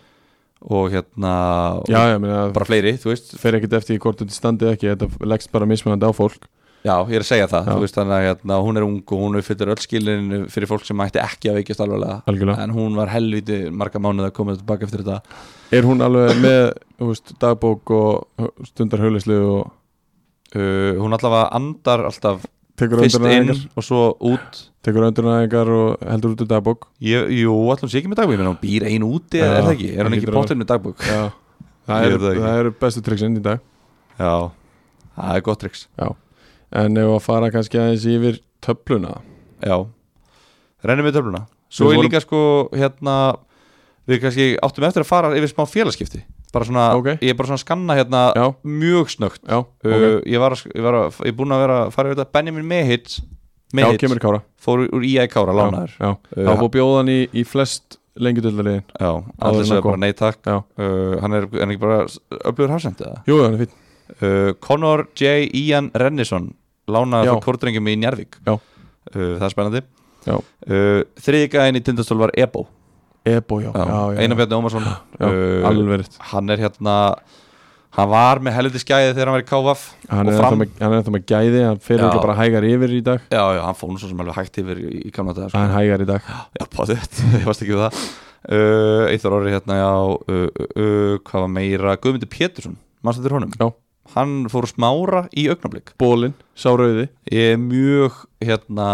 Og hérna, og Já, ég meina, bara fleiri, þú veist fer ekkert eftir því hvort þetta standið ekki, þetta leggst bara mismunandi á fólk Já, ég er að segja það, Já. þú veist þannig að hérna, hún er ung og hún uppfyllir öll skilinu fyrir fólk sem ætti ekki að veikjast alveglega algjörlega. en hún var helviti marga mánuð að koma tilbaka eftir þetta Er hún alveg með þú veist, dagbók og stundar höflislu og uh, Hún allavega andar alltaf tekur fyrst inn öndurnæðingar og svo út tekur öndurnæðingar og heldur út úr dagbók Ég, jú, allan sé ekki með dagbúk, ég meina hún býr ein úti Já, er það ekki, er það hún ekki hlýtur að bóttir með dagbúk Já, það Ég veit eru það ekki. það eru bestu triksinn í dag Já, það er gott triks En ef að fara kannski aðeins yfir töfluna Já, rennum við töfluna Svo Við er vorum- líka sko, hérna við kannski áttum eftir að fara yfir smá félagskipti bara svona, Ókei. ég er bara svona að skanna hérna Já, mjög snögt já, ok okay. ég, var, að sk- ég, var að, ég er búin að vera að fara yfir þetta Benjamin Mehits, Já, Mehits kemur í kára fór úr- úr IAK ára lánaður Já, já. Uh, Það var búið að bjóða hann í, í flest lengi dildaliðin Já, Áður allir en segja það kom. bara nei takk Já. uh, Hann er, er hann ekki bara öflugur hafsend eða? Jú, hann er fín Uh, Conor J. Ian Rennison Lánaði Já. frá kortringum í Njarvík Já. uh, Það er spennandi Já. uh, Þriðgæðin í Tindastól var Ebo Ebo, já, já, já, Einar já, Bjarni Ómarsson uh, alveg verið Hann er hérna Hann var með helviti skæði þegar hann var í KVF hann Og er, fram. ennþá með, hann er ennþá með gæði, hann fyrir Já. ekki bara hægar yfir í dag Já, já, hann fór nú svo sem alveg hægt yfir í, í gamla dag hann er hægar í dag Já, pátiðett, ég varst ekki við það uh, Eithar orði hérna, já uh, uh, uh, Hvað var meira, Guðmundur Pétursson Manstu þetta honum? Já. Hann fór að smára í augnablik Bólin, Sárauði Ég er mjög, hérna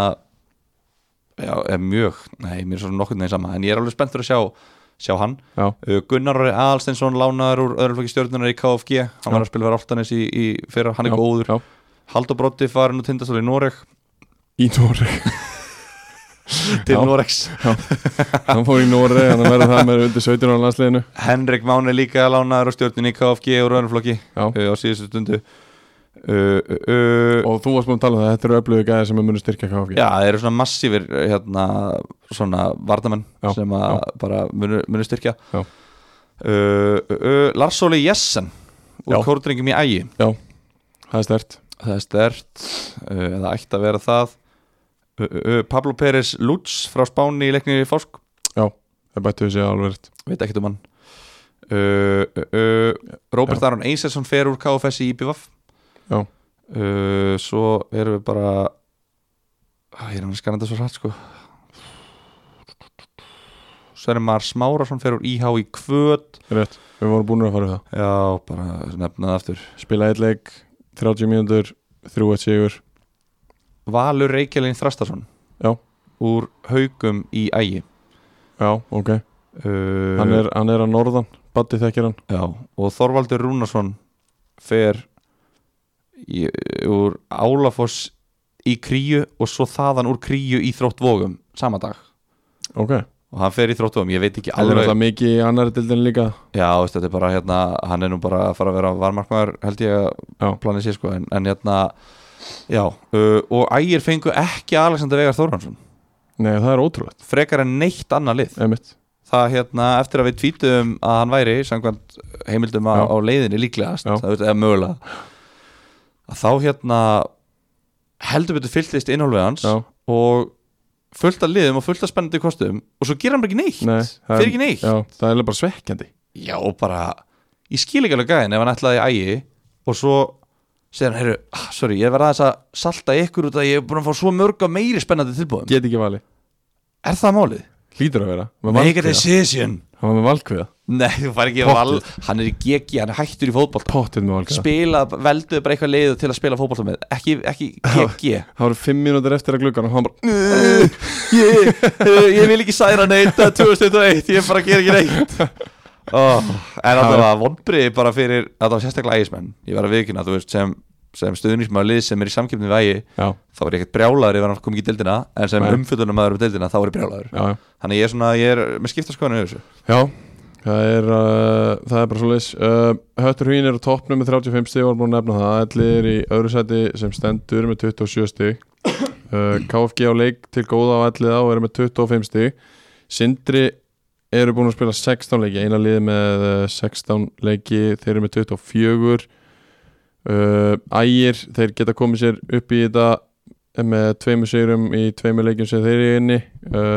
Já, er mjög Nei, mér er svo nokkuð neginn sama En ég er alveg spenntur að sjá, sjá hann Já. uh, Gunnar orði Alstensson lánaður úr öðruflöki stjórnunar í KFG Já. Hann var að spila verið áltanis í, í fyrra, hann er Já, góður já. Haldur Brotti farin og tindastóli í Noreg í Noreg Til Já. Noregs hann fór í Noreg, hann verður það með undir 17 á landsliðinu Henrik Máni líka lánaður á stjórnun í KFG og Röðnflokki Já. uh, á síðustu stundu uh, uh, uh, og þú varst búin að tala um það, þetta eru öflugu gæði sem er munið styrkja KFG Já, það eru svona massífir hérna, svona vardamenn Já, sem að já. bara munu, munu styrkja Já. uh, uh, uh, Lars Óli Jessen úr Já. kórdringum í ægi það er stert það er stert uh, eða ætti að vera það uh, uh, uh, Pablo Pérez Lutz frá Spáni í leikni í Fósk það bættu við sig alveg rétt veit ekkert um hann uh, uh, uh, Robert Aron Eisesson fer úr KFS í IPVaf Já. uh, Svo erum við bara Æ, Ég er hann skanandi svo hratt sko Sverri Mar Smárasson fer úr IH í Kvöt rétt, við vorum búin að fara við það Já, bara nefna það aftur spila eitt leik, 30 mínútur 3-1 sigur, Valur Reykjælin Þrastarsson Já. Úr Haugum í Ægi já, ok uh, hann er, hann er að norðan, Batti þekkir hann Já, og Þorvaldur Rúnarsson fer í, úr Álafoss í kríu og svo þaðan úr kríu í þróttvogum sama dag ok, og hann fer í þróttvogum, ég veit ekki hann er alveg alltaf mikið í annari dildin líka Já, veist, þetta er bara hérna, hann er nú bara að fara að vera varmarkmaður held ég Já. að planið sér sko en, en hérna, já uh, og ægir fengu ekki Alexander Vegar Þórhansson nei, það er ótrúlegt, frekar en neitt annað lið emitt það hérna eftir að við tvítum að hann væri samkvæmt heimildum á, Já. á leiðinni líklegast, Já. það veist, eða mögulega að þá hérna heldur betur fylltist innhólfið hans já, og fullt af liðum og fullt af spennandi kostum og svo gera hann bara ekki neitt nei, það fyrir er, ekki neitt, já, það er bara svekkjandi já bara ég skil ekki alveg gæðin ef hann ætlaði í ægi og svo segir hann, heyrðu, ah, sorry, ég verða aðeins að salta ykkur út að ég er búin að fá svo mörg og meiri spennandi tilbúðum, get ekki vali, er það málið? hlýtur að vera með Make a valkviða, decision hann var með valkviða Nei, þú fær ekki Pottið. val, hann er í GG, hann er hættur í fótboll pottið með valkviða, spila, veldu bara eitthvað leið til að spila fótboll með, ekki, ekki GG það voru 5 mínútur eftir að gluggan og hann bara, Uh, ég, uh, ég vil ekki særa neitt að 2001, ég bara ger ekki neitt oh, En alltaf að vonbriði bara fyrir, alltaf sérstaklega ægismenn Ég var að viðkynna, þú veist, sem, sem stuðnismæður lið sem er í samkipni við ægi já, Þá er ég ekkert brjálaður ef hann kom ekki í deildina En sem Nei. umfjöldunum maður um deildina, þá er ég brjálaður já, já Þannig ég er svona, ég er með skipta skoðinu yfir þessu Já, það er, uh, það er bara svo leis uh, Höttur Hugin er á toppnum með 35 stig og er búin að nefna það Ætli er í öðru sæti sem stendur með 27 stig uh, KFG á leik til góða á ætlið á er með 25 stig Sindri eru búin að spila 16 leiki eina liði með uh, 16 leiki þeir eru með 24 uh, Ægir, þeir geta komið sér upp í þetta með tveimur sigurum í tveimur leikjum sem þeir eru inni uh,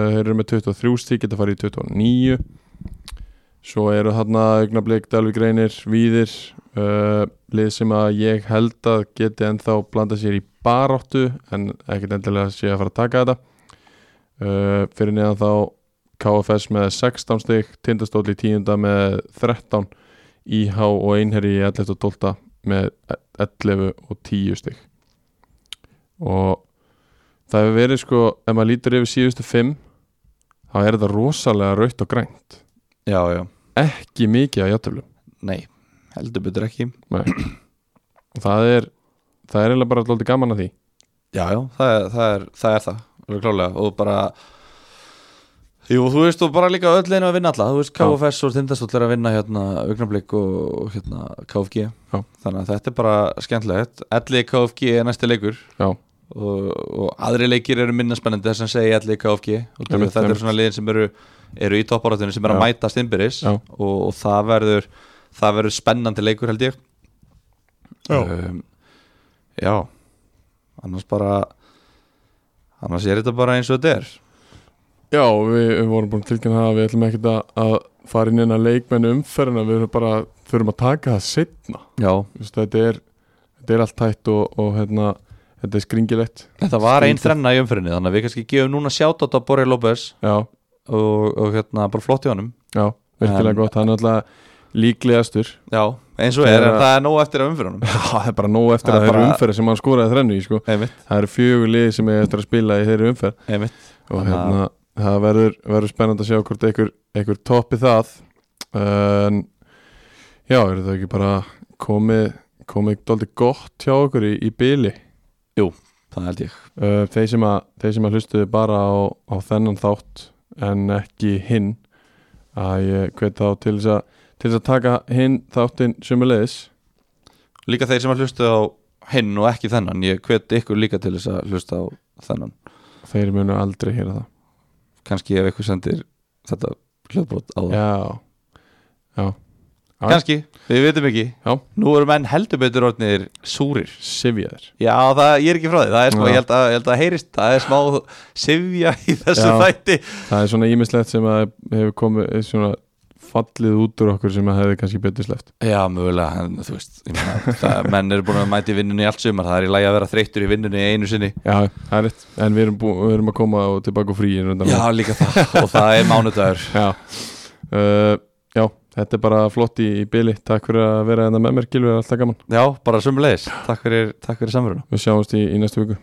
þeir eru með 23 stík, geta farið í 29 Svo eru þarna augnablík Dalvik Reynir, Víðir uh, lið sem að ég held að geti ennþá blanda sér í baróttu en ekkert endilega sé að fara að taka þetta uh, fyrir neðan þá KFS með 16 stig Tindastóll í 10 með 13 IH og Einherji í 11 og 12 með 11 og 10 stig og það hefur verið sko ef maður lítur yfir síðustu 5 þá er þetta rosalega raut og grænt Já, já, ekki mikið að játtöflum nei, heldur betur ekki og það er það er eiginlega bara alltaf gaman að því Já, já, það er það, er, það, er það alveg klálega og bara Jú, þú veist, og bara líka öll einu að vinna alla þú veist, Já. KFS og Tindastóll er að vinna hérna augnablík og, og hérna KFG Já. þannig að þetta er bara skemmtilegt Elli KFG er næsti leikur Já. og, og aðri leikir eru minna spennandi þess að segja allir KFG og Einmitt, þetta einmitt. eru svona liðin sem eru, eru í topparátunni sem eru Já. að mætast innbyrðis Já. og, og það verður það verður spennandi leikur held ég Já. um, já annars bara annars er þetta bara eins og þetta er Já, við, við vorum búin að tilkynna það að við ætlum ekkert að, að fara inn að leikmennu umferðina, við erum bara þurfum að taka það setna já, þetta er, þetta er allt tætt og, og hérna, þetta er skringilegt þetta var einn Skrítið. þrenna í umfyrinni þannig að við kannski gefum núna sjátt á Borri López Já, og, og hérna bara flott í honum já, virkilega En- gott, hann er alltaf líklegastur já, eins og er, Þegar- en það er nóg eftir af umfyrinum Já, það er bara nóg eftir Það að er það eru bara- umferð sem hann skoraði þrennu í sko einmitt, Það eru fjögur lið sem er eftir að spila í þeirri umferð einmitt og Þannig að- hérna, það verður, verður spennand að sjá hvort einhver, einhver toppi það en já, eru það ekki bara komið komið doldið gott hjá okkur í, í byli það held ég uh, þeir, sem að, þeir sem að hlustuðu bara á, á þennan þátt en ekki hinn að ég hvet þá til þess að til þess að taka hinn þáttinn sömulegis Líka þeir sem að hlusta á hinn og ekki þennan Ég hvet ykkur líka til þess að hlusta á þennan þeir munu aldrei hýra það Kanski ef ykkur sendir þetta hljóðbrot á það Já, Já. Kanski, við vitum ekki Já. Nú eru menn heldur betur orðnir súrir sifjaðir Já, það, ég er ekki frá því Það er smá, Já. ég held, að, ég held að heyrist Það er smá sifja í þessu Já. þætti Það er svona ímislegt sem að hefur komið svona fallið út úr okkur sem að hefði kannski betur sleft Já, mögulega, en þú veist ég meina, það, Menn eru búin að mæti vinnunni í allt sumar Það er í lagi að vera þreyttur í vinnunni einu sinni Já, það er rétt, en við erum, bú, við erum að koma og tilbaka frí í rundan Já, líka það Og það er mánudagur Já. Uh, já, þetta er bara flott í, í byli Takk fyrir að vera hérna með mér, Gilvið, alltaf gaman Já, bara sömulegis Takk fyrir, takk fyrir samverðuna Við sjáumst í, í næstu viku